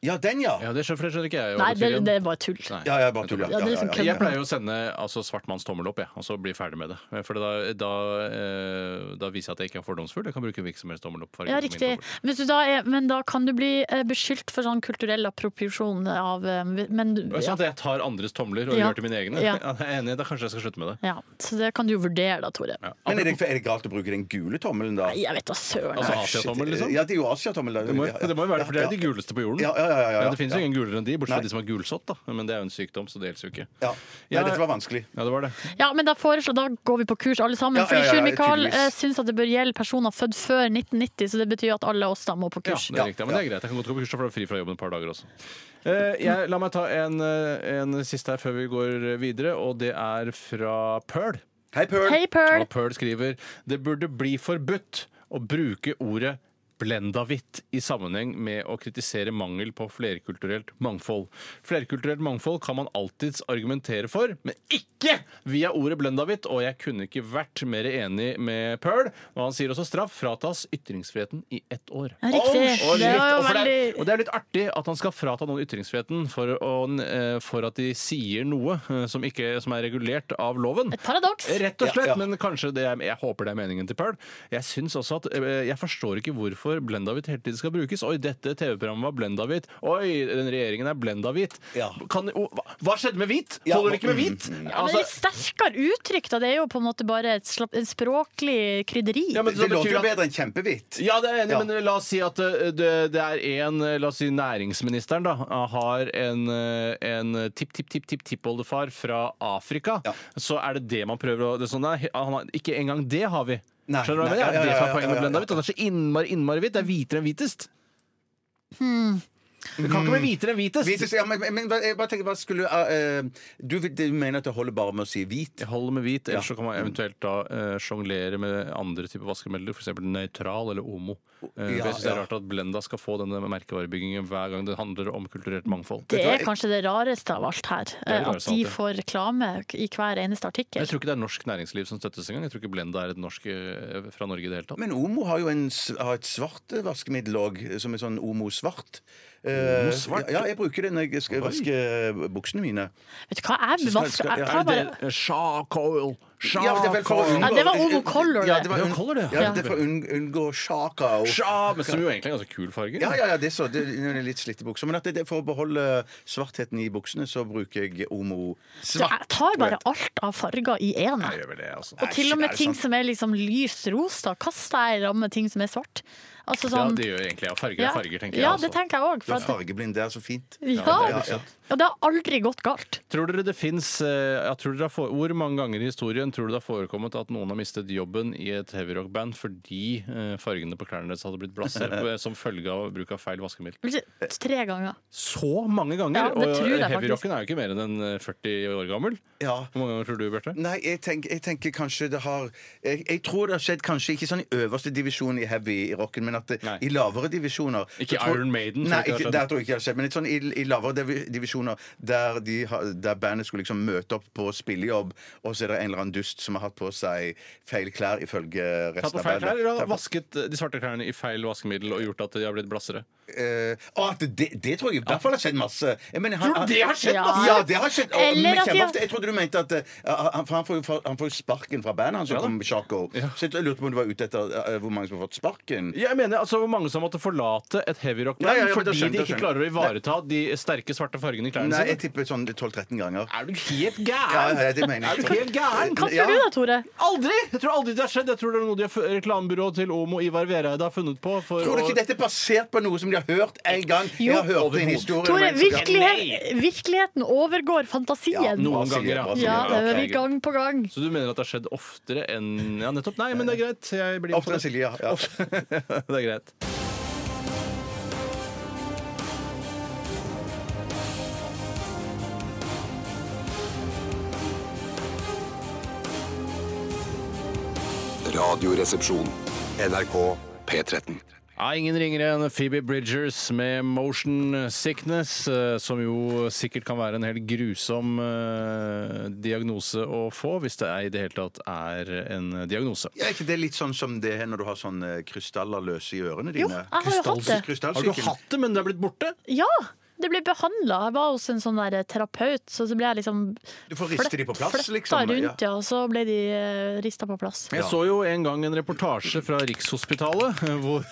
D: Ja, den, ja!
C: Ja, det skjønner, for det skjønner ikke jeg. jo
E: Nei,
C: hva
E: det,
C: betyr igjen.
E: det er bare tull.
C: Nei.
D: Ja, jeg bare tuller.
E: Ja, det er liksom
C: Jeg pleier jo å sende altså, svartmanns tommel opp jeg, og så bli ferdig med det. For da, da, eh, da viser jeg at jeg ikke er fordomsfull. Jeg kan bruke hvilken som helst tommel opp. farge
E: Ja,
C: på min
E: riktig.
C: tommel.
E: Hvis du da er, men da kan du bli eh, beskyldt for sånn kulturell appropriasjon av eh, Men du
C: Og
E: ja.
C: Sånn at jeg tar andres tomler og
E: Ja.
C: gjør til mine egne.
E: Ja.
C: Ja. [LAUGHS] jeg er enig, Da kanskje jeg skal slutte med det.
E: ja. Så det kan du jo vurdere, da, Tore.
C: Ja.
D: Men er det, er det galt å bruke den gule tommelen, da?
E: Nei, jeg vet da søren.
C: Altså,
D: Nei, shit. eh,
C: Asiatommel, liksom?
D: Ja, det er jo Asiatommel. da.
C: Det må, det må jo være, for det er de guleste på jorden.
D: Ja, ja, ja, ja, ja.
C: Ja, det finnes jo ingen gulere enn de, bortsett
D: Nei.
C: fra de som har gulsott. da. Men det er jo en sykdom, så det gjelder jo ikke.
D: Ja. Nei,
C: Ja,
D: dette var vanskelig.
C: Ja, det var det.
E: Ja, men da, foreslår, da går vi på kurs alle sammen.
D: Ja,
E: Fordi
D: ja, ja, ja,
E: Sjur Mikael
D: tydeligvis.
E: eh, syns at det bør gjelde personer født før 1990, så det betyr at alle oss da må på
C: Ja,
E: kurs.
C: det er riktig. Men det er greit. Jeg kan godt gå på kurs, for jeg er fri fra jobben et par dager også. Eh, jeg, la meg ta en, eh, en siste her før vi går videre, og det er fra Pearl.
D: Hei, Pearl.
E: Hei, Pearl!
C: Og Pearl skriver det burde bli forbudt å bruke ordet blendavitt i sammenheng med å kritisere mangel på flerkulturelt mangfold. Flerkulturelt mangfold kan man alltids argumentere for, men ikke via ordet blendavitt, og jeg kunne ikke vært mer enig med Pearl. Og han sier også straff fratas ytringsfriheten i ett år.
E: Ja, Riktig.
C: Og,
E: det
C: litt,
E: var jo
C: og, for det, er- og
E: veldig
C: det er litt artig at han skal frata noen ytringsfriheten for, å, eh, for at de sier noe eh, som, ikke, som er regulert av loven.
E: Et paradoks!
C: Rett og slett,
D: Ja, ja.
C: men kanskje det er, jeg håper det er meningen til Pearl. Jeg syns også at eh, jeg forstår ikke hvorfor blendahvitt hele tiden skal brukes. Oi, dette TV-programmet var blendahvitt. Oi, den regjeringen er blendahvitt.
D: Ja.
C: Kan- å, hva- Hva skjedde med hvit?
D: Ja,
C: Holder det ikke med
D: mm,
C: hvit? Altså,
E: Ja, men det er litt sterkere uttrykk, da. Det er jo på en måte bare et, slapp, et språklig krydderi.
C: ja, men så
D: Det låter
C: betyr
D: jo
C: at-
D: bedre enn kjempehvitt.
C: Ja, det er jeg enig,
D: Ja.
C: i, men la oss si at eh, det, det er en eh, La oss si næringsministeren da har en, eh, en tipp-tipp-tipp-tippoldefar fra Afrika.
D: Ja.
C: sånn,
D: Nei,
C: Skjønner du hva jeg
D: nei,
C: mener? Det er det som
D: ja, ja, ja,
C: er
D: ja,
C: poenget med
D: ja, ja.
C: blendavitt. Han er så innmari, innmari hvit. Det er hvitere enn hvitest. Det kan ikke være hvitere enn hvitest.
D: Hvitest, ja, men, men jeg bare tenker, hva skulle eh, du, du mener at det holder bare med å si hvit?
C: Jeg holder med hvit, ellers
D: Ja.
C: så kan man eventuelt da eh, sjonglere med andre typer vaskemidler, f.eks. nøytral eller homo. Eh,
D: Ja,
C: jeg synes Det er
D: ja.
C: rart at Blenda skal få denne merkevarebyggingen hver gang det handler om kulturelt mangfold.
E: Det er kanskje det rareste av alt her. eh,
C: er det
E: At
C: rareste av
E: de
C: alt, ja.
E: får reklame i hver eneste artikkel.
C: Jeg tror ikke det er norsk næringsliv som støttes engang. Jeg tror ikke Blenda er et norsk eh, fra Norge i det hele tatt.
D: Men Omo har jo en, s- har et svart eh, vaskemiddel òg, som er sånn Omo svart. Eh,
C: Omo svart?
D: Ja, ja, jeg bruker det når jeg skal vaske buksene mine.
E: Vet du hva, jeg,
D: Synes man
E: vasker,
D: skal-
E: jeg
D: ja,
E: tar bare
C: Eh, Charcoal!
D: Ja, det er vel for å
E: Ja,
D: unngå-
E: det var Omo Color,
D: Ja,
E: det.
D: det var,
C: Det var
D: unn-
C: Color, det, ja.
D: ja, det er for å unn- unngå sjaka og
C: Sha- Men som jo egentlig er en ganske kul farge.
D: Ja, ja, ja, det er så. Det er litt slitte bukser. Men at det, det, for å beholde svartheten i buksene, så bruker jeg Omo svart.
E: Jeg tar bare alt av farger i én.
C: Jeg gjør vel det, altså.
E: Og til og
D: er
E: med
D: det
E: ting
D: sant?
E: som er liksom lys rosa. Kaster jeg i ramme ting som er svart? Altså
C: Ja,
E: sånn
C: det gjør egentlig ja. Farger er farger, tenker
E: ja,
C: jeg.
E: det
C: altså.
E: tenker jeg òg.
D: Du er
E: Ja.
D: fargeblind, det er så fint.
C: det er
E: Ja.
C: litt sant.
E: ja, det har aldri gått galt.
C: Tror dere det finnes, eh, ja, tror dere det har fore- Hvor mange ganger i historien tror du det har forekommet at noen har mistet jobben i et heavyrock-band fordi eh, fargene på klærne deres hadde blitt blasert [LAUGHS] på, som følge av bruk av feil vaskemiddel?
E: Vil si, Tre ganger.
C: Så mange ganger!
E: Ja, det tror
C: og
E: jeg faktisk.
C: heavyrocken er jo ikke mer enn en, eh, 40 år gammel.
D: Ja.
C: Hvor mange ganger tror du, Bjarte?
D: Nei, jeg, tenk, jeg tenker kanskje det har jeg, jeg tror det har skjedd kanskje ikke sånn i øverste divisjon i heavy i rocken, men at det,
C: Nei.
D: i lavere divisjoner
C: Ikke
D: så tror-
C: Iron Maiden, tror
D: Nei,
C: jeg ikke det har
D: ikke,
C: skjedd.
D: der tror jeg ikke det har skjedd. Men litt sånn i, i lavere divi- divisjoner der, de, har- der bandet skulle liksom møte opp på spillejobb, og så er det en eller annen dust som har hatt på seg feil klær, ifølge
C: Tatt på
D: resten av
C: feil klær,
D: bandet.
C: eller har
D: Tatt på-
C: vasket eh, de svarte klærne i feil vaskemiddel og gjort at de har blitt blassere?
D: Eh, å, at det, det tror jeg i hvert fall har skjedd masse. Jeg mener, han-
C: Tror du det har skjedd
E: Ja.
D: Ja,
E: masse?
D: det har skjedd. Og,
E: Eller
D: men
E: at de har-
D: kjempeofte. Jeg trodde du mente at eh, han, for han, får jo, fa- han får jo sparken fra bandet, han som
C: Ja da.
D: kom med Shaco.
C: Ja.
D: Så jeg lurte på om du var ute etter eh, hvor mange som har fått sparken.
C: Jeg mener altså hvor mange som måtte forlate et heavyrock-band
D: Ja, ja, ja, men da
C: fordi
D: skjønner
C: de
D: jeg,
C: ikke
D: da
C: klarer å
D: skjønner jeg.
C: ivareta de sterke svarte fargene i klærne
D: Nei, jeg
C: sine.
D: tipper sånn 12-13 ganger.
C: Er du helt
D: Ja,
C: gæren?
D: ja, det mener
C: [LAUGHS] Er du
D: jeg.
C: helt gæren?
E: Hva tror
D: Ja.
E: du da, Tore?
C: Aldri! Jeg tror aldri det har skjedd. Jeg tror det er noe de har f- reklamebyrået til Omo Ivar Vereide har funnet på. For
D: Tror
C: å-
D: du ikke dette er basert på noe som de har hørt en gang?
E: Jo.
D: Jeg har hørt en historie om
E: Tore,
D: en som-
E: virkelighet, virkeligheten overgår
D: Ja,
E: fantasien.
C: noen
D: bra sier,
C: ganger, ja.
D: bra sier.
E: Ja, det
C: ok,
E: er vi
C: greit.
E: gang på gang.
C: Så du mener at det har skjedd oftere enn Ja, nettopp. Nei, men det er greit. Jeg blir med på
D: Oftere enn
C: det.
D: Silje, ja. ja.
C: det er greit.
B: Radioresepsjon. NRK P13.
C: Ja, ingen ringer enn Phoebe Bridgers med motion sickness, eh, som jo sikkert kan være en helt grusom eh, diagnose å få, hvis det er, i det hele tatt er en diagnose.
D: Ja, Er ikke det litt sånn som det er når du har sånne krystaller løse i ørene
E: Jo,
D: dine?
E: jeg har jo hatt det.
C: Har du hatt det, men det er blitt borte?
E: Ja, det ble behandla. Jeg var hos en sånn der terapeut, så så ble jeg liksom
D: Du får riste de på plass,
E: flytta
D: liksom, ja.
E: rundt, ja. Og så ble de uh, rista på plass.
C: Jeg så jo en gang en reportasje fra Rikshospitalet eh, hvor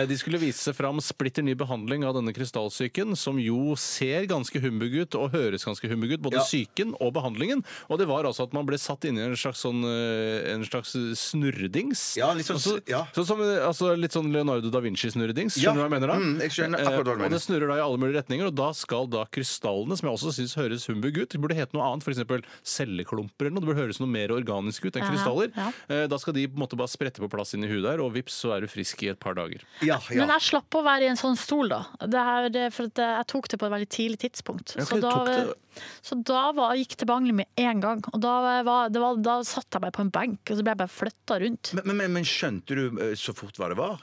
C: [LAUGHS] de skulle vise fram splitter ny behandling av denne krystallsyken, som jo ser ganske humbug ut og høres ganske humbug ut, både
D: Ja.
C: syken og behandlingen. Og det var altså at man ble satt inn i en slags, sånn, eh, en slags snurredings.
D: Ja, litt sånn-
C: altså,
D: ja.
C: sånn som, eh, altså, litt sånn Leonardo da Vinci-snurredings. Skjønner
D: Ja.
C: du hva jeg mener da?
D: Mm, jeg skjønner
C: Eh,
D: akkurat hva du
C: Og
D: mener.
C: det snurrer da i alle mulige retninger, og da skal da krystallene, som jeg også syns høres humbug ut, de burde hete noe annet, f.eks. celleklumper eller noe, det burde høres noe mer organisk ut enn
E: Ja,
C: krystaller.
E: ja.
C: Eh, Da skal de på en måte bare sprette på plass inn i huet der, og vips, så er du frisk i et par dager.
D: Ja, ja.
E: Men jeg slapp å være i en sånn stol, da. Det her, det, for at jeg tok det på et veldig tidlig tidspunkt.
C: Ja, ok,
E: så
C: du
E: da,
C: tok det.
E: så da var, gikk det behandling med en gang. Og da, var, det var, da satt jeg bare på en benk, og så ble jeg bare flytta rundt.
D: Men, men, men skjønte du eh, så fort hva det var?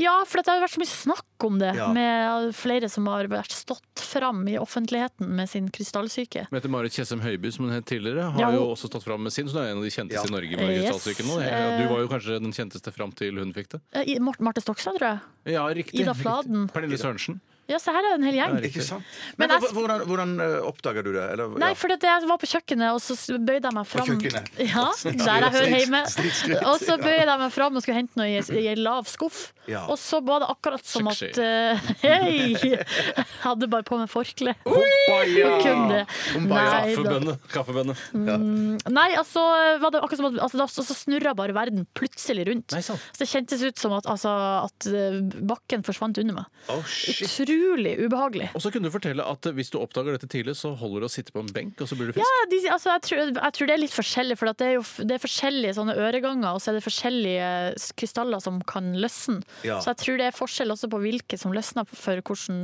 E: Ja, for at det har vært så mye snakk om det,
D: Ja.
E: med flere som har vært stått fram i offentligheten med sin krystallsyke.
C: Mette-Marit Tjessem Høiby, som hun het tidligere, har
E: Ja, hun-
C: jo også stått fram med sin, så hun er en av de kjenteste
D: Ja.
C: i Norge med
E: Yes.
C: krystallsyken nå.
E: Eh.
C: Du var jo kanskje den kjenteste fram til hun fikk det.
E: Eh, i- Mart- Marte Stokstad, tror jeg.
C: Ja, riktig.
E: Ida
C: riktig.
E: Fladen.
C: Pernille Sørensen.
E: Ja, se her er det en hel gjeng.
C: Riktig.
D: Ikke sant?
E: Men
D: Men,
E: jeg-
D: hv- hvordan, hvordan eh, oppdaga du det? Eller,
E: Nei,
D: ja.
E: for det, jeg var på kjøkkenet, og så s- bøyde jeg meg fram.
D: kjøkkenet.
E: [LAUGHS] Ja, der jeg hører hjemme. Og så bøyde jeg meg fram og skulle hente noe i i en lav skuff.
D: Ja.
E: Og så var det akkurat som
C: Sexy.
E: at eh, [LAUGHS] Hei! Jeg hadde bare på meg forkle.
D: Oh,
E: Og kunne det. Nei, da.
C: Kaffebønne. Kaffebønne.
E: Nei, altså, var det akkurat som at altså, da, Så snurra bare verden plutselig rundt.
C: Nei, sant.
E: Så det kjentes ut som at, altså, at eh, bakken forsvant under meg.
D: Å, Oh, shit.
E: Utrolig ubehagelig.
C: Og så kunne du fortelle at eh, hvis du oppdager dette tidlig, så holder det å sitte på en benk, og så blir du frisk.
E: Ja, de, altså, jeg, tror, jeg tror det er litt forskjellig, for at det er jo f- det er forskjellige sånne øreganger, og så er det forskjellige s- krystaller som kan løsne.
D: Ja.
E: Så jeg tror det er forskjell også på hvilke som løsner, for hvordan,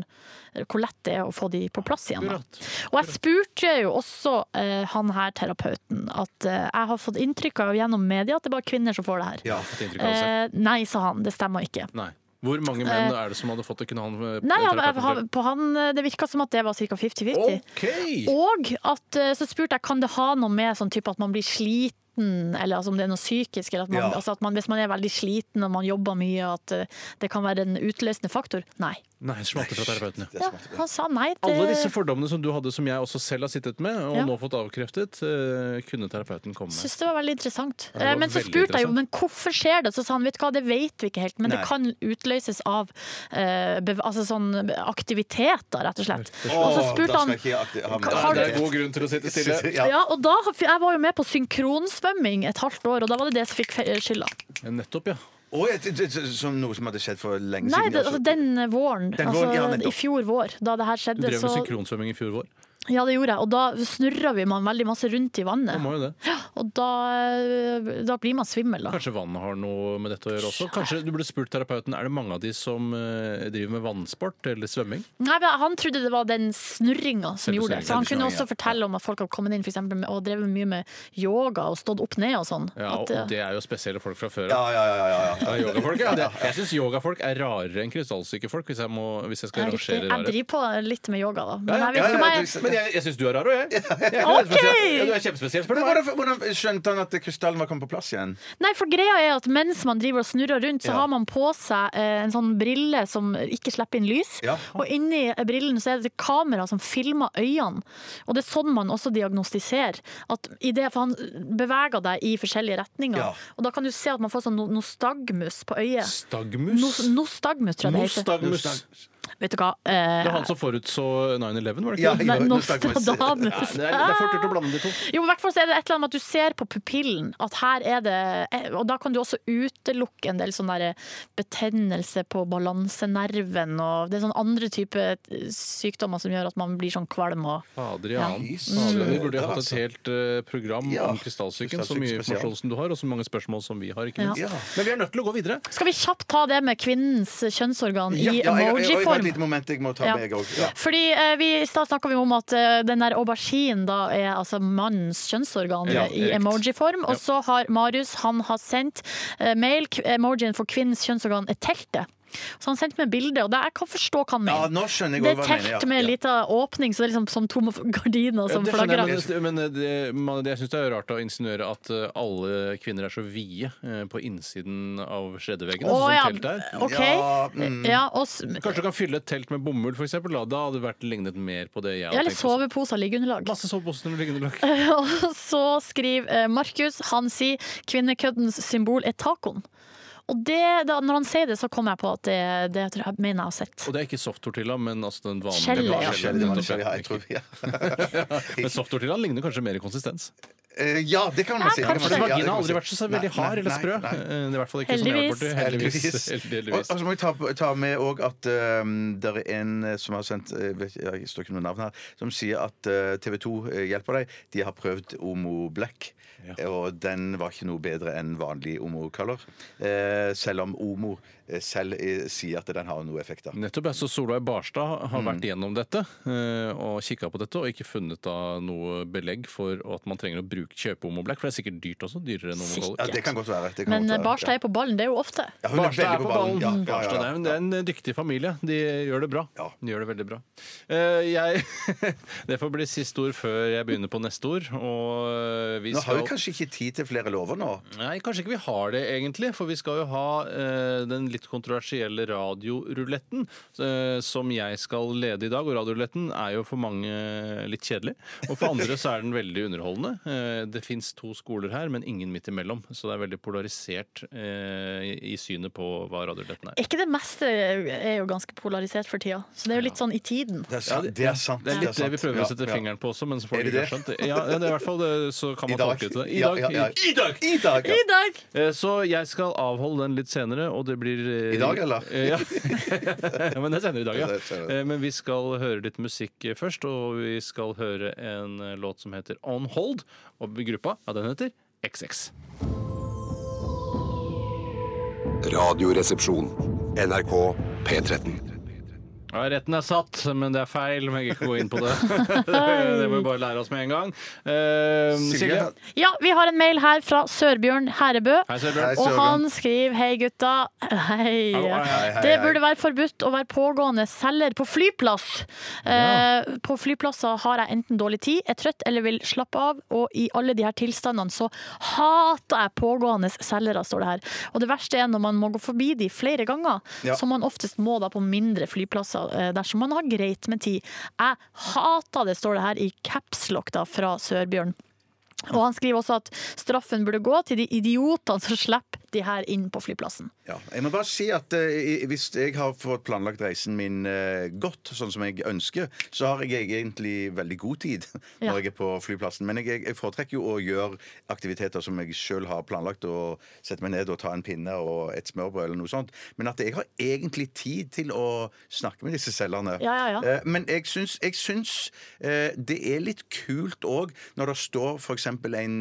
E: hvor lett det er å få de på plass igjen. Da.
C: Akkurat.
E: Og jeg spurte jo også eh, han her terapeuten at eh, jeg har fått inntrykk av gjennom media at det er bare kvinner som får det her.
D: Ja.
C: Fått inntrykk av det selv.
E: Eh, nei, sa han, det stemmer ikke.
C: Nei. Hvor mange menn er det som hadde fått det? Kunne han eh,
E: Nei, han,
C: terapeuten
E: han- på han, eh, det virka som at det var ca. 50-50.
C: fortelle? OK!
E: Og at, eh, så spurte jeg kan det ha noe med sånn type at man blir sliten, eller altså, om det er noe psykisk. Eller at man,
D: Ja.
E: altså, at man, hvis man er veldig sliten og man jobber mye, at eh, det kan være en utløsende faktor. Nei.
C: Nei, smatter fra terapeuten, ja.
E: Ja, han sa nei. Det,
C: Alle disse fordommene som du hadde, som jeg også selv har sittet med, og
E: Eh, Ja.
C: nå fått avkreftet, eh, kunne terapeuten komme med.
E: Syns det var veldig interessant.
C: det var
E: Eh, men så
C: veldig
E: spurte jeg jo
C: interessant.
E: men hvorfor skjer det. Så sa han vet du hva, det vet vi ikke helt, men
D: Nei.
E: det kan utløses av eh, bev- altså sånn aktiviteter, rett og slett. Og så
D: Å,
E: spurte
D: da
E: han
D: skal jeg ikke akti- ha med
E: Kan-
D: det.
E: har
C: Det er god grunn til å sitte stille.
D: Ja.
E: [LAUGHS] ja, og da, for Jeg var jo med på synkronsvømming et halvt år, og da var det det som fikk fe- skylda.
C: Nettopp, ja.
D: Å, ja, det- det- som noe som hadde skjedd for lenge
E: Nei,
D: siden.
E: det, altså, den våren,
D: Den
E: altså,
D: våren, ja, nettopp.
E: i fjor vår, da det her
C: Du
E: skjedde,
C: drev med
E: så
C: synkronsvømming i fjor vår.
E: Ja, det gjorde jeg. Og da snurra vi man veldig masse rundt i
C: Man
E: vannet.
C: må jo det.
E: Og eh, da, da blir man svimmel, da.
C: Kanskje vann har noe med dette å gjøre også? Kanskje Du burde spurt terapeuten er det mange av de som eh, driver med vannsport eller svømming.
E: Nei, men Han trodde det var den snurringa som
C: Selve
E: gjorde
C: snurringen,
E: det. For Han kunne
D: snurringen,
E: også
D: ja.
E: fortelle om at folk har kommet inn for eksempel, med- og drevet mye med yoga og stått opp ned og sånn.
C: Ja, og
E: At, eh,
C: det er jo spesielle folk fra før
D: Ja, ja, ja. ja, ja.
C: Ja, Yogafolk, [LAUGHS] ja. Det, jeg syns yogafolk er rarere enn krystallsyke folk, hvis jeg, må, hvis jeg skal
E: er riktig.
C: rangere
E: jeg
C: rarhet.
E: driver på litt med yoga, da. Men
C: Ja,
E: jeg vet ikke om
D: ja,
E: jeg
D: du-
C: Men jeg, jeg syns du er rar òg, jeg. jeg er
E: Ok!
C: spesiell. Ja, du er kjempespesiell, spør
D: Men
C: du meg.
D: hvordan, hvordan skjønte han at krystallen var kommet på plass igjen?
E: Nei, for greia er at mens man driver og snurrer rundt, så
C: Ja.
E: har man på seg eh, en sånn brille som ikke slipper inn lys.
D: Ja.
E: Og inni eh, brillen så er det kamera som filmer øynene. Og det er sånn man også diagnostiserer. At i det, for han beveger deg i forskjellige retninger.
D: Ja.
E: Og da kan du se at man får sånn no- nostagmus på øyet. No,
C: Stagmus?
E: nostagmus, tror jeg det heter.
C: Nostagmus.
E: Vet du hva?
C: Det er
E: Eh,
C: han som forutså 9-11, var det Ah!
D: Ja,
C: ikke? det?
E: nei,
D: jo, nostagmus.
C: Nei,
E: Nostradamus.
C: det, er, det er fort gjort å blande de to.
E: Jo, i hvert fall så er det et eller annet med at du ser på pupillen at her er det eh, Og da kan du også utelukke en del sånn der betennelse på balansenerven og Det er sånn andre typer sykdommer som gjør at man blir sånn kvalm og
C: Fader i annen.
D: Ja.
C: Fader, Vi burde jo hatt et
D: Altså.
C: helt eh, program
D: Ja.
C: om krystallsyken. Så
D: Krystallsyken
C: mye
D: spesial.
C: informasjon som du har, og så mange spørsmål som vi har, ikke minst.
D: Ja.
C: Men vi er nødt til å gå videre.
E: Skal vi kjapt ta det med kvinnens kjønnsorgan i
D: Ja, jeg- jeg- jeg har Et
E: emoji-form?
D: lite moment jeg må ta
E: Ja.
D: med, jeg også. Ja.
E: Fordi eh, vi, I stad snakka vi om at eh, den der auberginen da er altså mannens kjønnsorgan
C: Ja,
E: eh, i
C: korrekt.
E: emoji-form.
C: Ja.
E: Og så har Marius han har sendt eh, mail. K- Emojien for kvinnens kjønnsorgan er teltet. Så han sendte meg bilde, og det, jeg kan forstå hva han
D: Ja,
E: mener.
D: nå skjønner jeg
E: det
D: også hva
E: er telt
D: jeg mener. Ja.
E: med en
D: Ja.
E: lita åpning, så det er liksom som tomme gardiner som
C: det skjønner
E: flagrer.
C: jeg, men men det, man, jeg syns det er rart å insinuere at eh, alle kvinner er så vide eh, på innsiden av skjedeveggen.
E: Å
C: altså,
E: ja,
C: som telt er.
E: OK.
D: Ja, mm.
E: Ja, og, s-
C: Kanskje du kan fylle et telt med bomull, for eksempel, da. da hadde det vært lignet mer på det jeg
E: ja,
C: hadde
E: eller
C: tenkt.
E: soveposer og liggeunderlag.
C: Masse soveposer med liggende lokk.
E: [LAUGHS] Og så skriver eh, Markus, han sier kvinnekøddens symbol er tacoen. Og det, da, når han sier det, så kommer jeg på at det, det tror jeg mener jeg har sett.
C: Og det er ikke soft-tortilla, men altså den vanlige.
E: Skjellet, ja.
C: vanlige
D: Ja,
C: skjellet,
D: det
C: nettopp,
D: var noe skjell, ja, jeg tror, ja.
E: [LAUGHS]
C: Men soft-tortillaen ligner kanskje mer i konsistens.
D: Eh, ja, det kan man si. det kan man
E: kanskje.
D: si.
C: Fordi
D: Ja, det
C: vagina har
D: kan man si.
C: aldri vært så, så
D: Nei,
C: veldig hard eller
D: nei,
C: sprø.
D: nei.
C: Eh, Det er i hvert fall ikke som jeg har vært borti.
D: Heldigvis.
C: Heldigvis.
D: Og, og så må vi ta, ta med òg at um, det er en eh, som har sendt eh, vet, ikke- Jeg står ikke med navn her. Som sier at eh, TV 2 hjelper deg. De har prøvd Omo Black. eh, Og den var ikke noe bedre enn vanlig Omo Color. Eh, selv om Omo eh, selv eh, sier at den har noe effekt. da.
C: Nettopp, ja. Så Solveig Barstad har
D: Mm.
C: vært gjennom dette eh, og kikka på dette, og ikke funnet da noe belegg for at man trenger å bruke kjøpe Homoblack, for det er sikkert dyrt også. Dyrere enn
D: Ja,
C: homokoller.
D: det kan godt være. Det kan
E: Men
D: godt
E: eh,
D: være,
E: Barstad
D: ja.
E: er på ballen, det er jo ofte.
D: Ja, hun er
C: Barstad
D: veldig
C: er på ballen.
D: Ja, ja, ja,
C: Barstad er, men det er en eh, dyktig familie. De gjør det bra.
D: Ja.
C: De gjør det veldig bra. Eh, jeg, [LAUGHS] det får bli siste ord før jeg begynner på neste ord. Og eh, vi
D: Nå har
C: skal
D: vi kanskje ikke tid til flere lover nå.
C: Nei, kanskje ikke vi har det egentlig, for vi skal jo ha eh, den litt kontroversielle radioruletten eh, som jeg skal lede i dag. Og radioruletten er jo for mange eh, litt kjedelig, og for andre så er den veldig underholdende. Eh, det fins to skoler her, men ingen midt imellom, så det er veldig polarisert eh, i i synet på hva radioruletten er.
E: Er ikke det meste er jo ganske polarisert for tida, så det er jo litt sånn i tiden.
D: Det er sant. det, er sant.
C: Det er litt det
D: sant.
C: vi prøver
D: Ja,
C: å sette
D: ja.
C: fingeren på også, men så får
D: Er
C: de
D: det
C: ikke skjønt det. Ja, det er i hvert fall det, så kan
D: I
C: man
D: dag.
C: tolke ut det.
D: Ja, ja, ja. I dag! I dag, ja.
E: I dag!
C: Eh, Så jeg skal avholde den litt senere, og det blir eh,
D: I dag, eller?
C: Eh, [LAUGHS] Ja. ja, men det er senere i dag, ja.
D: Det er senere.
C: Eh, Men vi skal høre litt musikk eh, først, og vi skal høre en eh, låt som heter On Hold, og gruppa, ja, den heter XX.
B: Radioresepsjon. NRK P13.
C: Ja, retten er satt, men det er feil. Men jeg kan ikke gå inn på det. [LAUGHS] det må vi bare lære oss med en gang. Eh, Silje.
D: Silje.
E: Ja, vi har en mail her fra Sørbjørn Herrebø.
C: Hei, Sørbjørn.
D: Hei,
E: Og
D: Sørbjørn.
E: han skriver Hei, gutta. [LAUGHS] Hei.
C: Hallo, hei, hei,
D: hei,
E: Det
D: hei.
E: burde være forbudt å være pågående selger på flyplass.
C: Ja.
E: Eh, på flyplasser har jeg enten dårlig tid, er trøtt eller vil slappe av. Og i alle de her tilstandene så hater jeg pågående selgere, står det her. Og det verste er når man må gå forbi de flere ganger,
D: Ja.
E: som man oftest må da på mindre flyplasser eh, dersom man har greit med tid. Jeg hater det, står det her i capslock da fra Sørbjørn. Og han skriver også at straffen burde gå til de idiotene som slipper de her inn på flyplassen.
D: Ja. Jeg må bare si at eh, i- hvis jeg har fått planlagt reisen min eh, godt, sånn som jeg ønsker, så har jeg egentlig veldig god tid [LAUGHS] når
E: Ja.
D: jeg er på flyplassen. Men jeg, jeg- jeg foretrekker jo å gjøre aktiviteter som jeg sjøl har planlagt, og sette meg ned og ta en pinne og et smørbrød eller noe sånt. Men at jeg har egentlig tid til å snakke med disse selgerne.
E: Ja, ja, ja.
D: Eh, Men jeg syns, jeg syns eh, det er litt kult òg når det står f.eks. en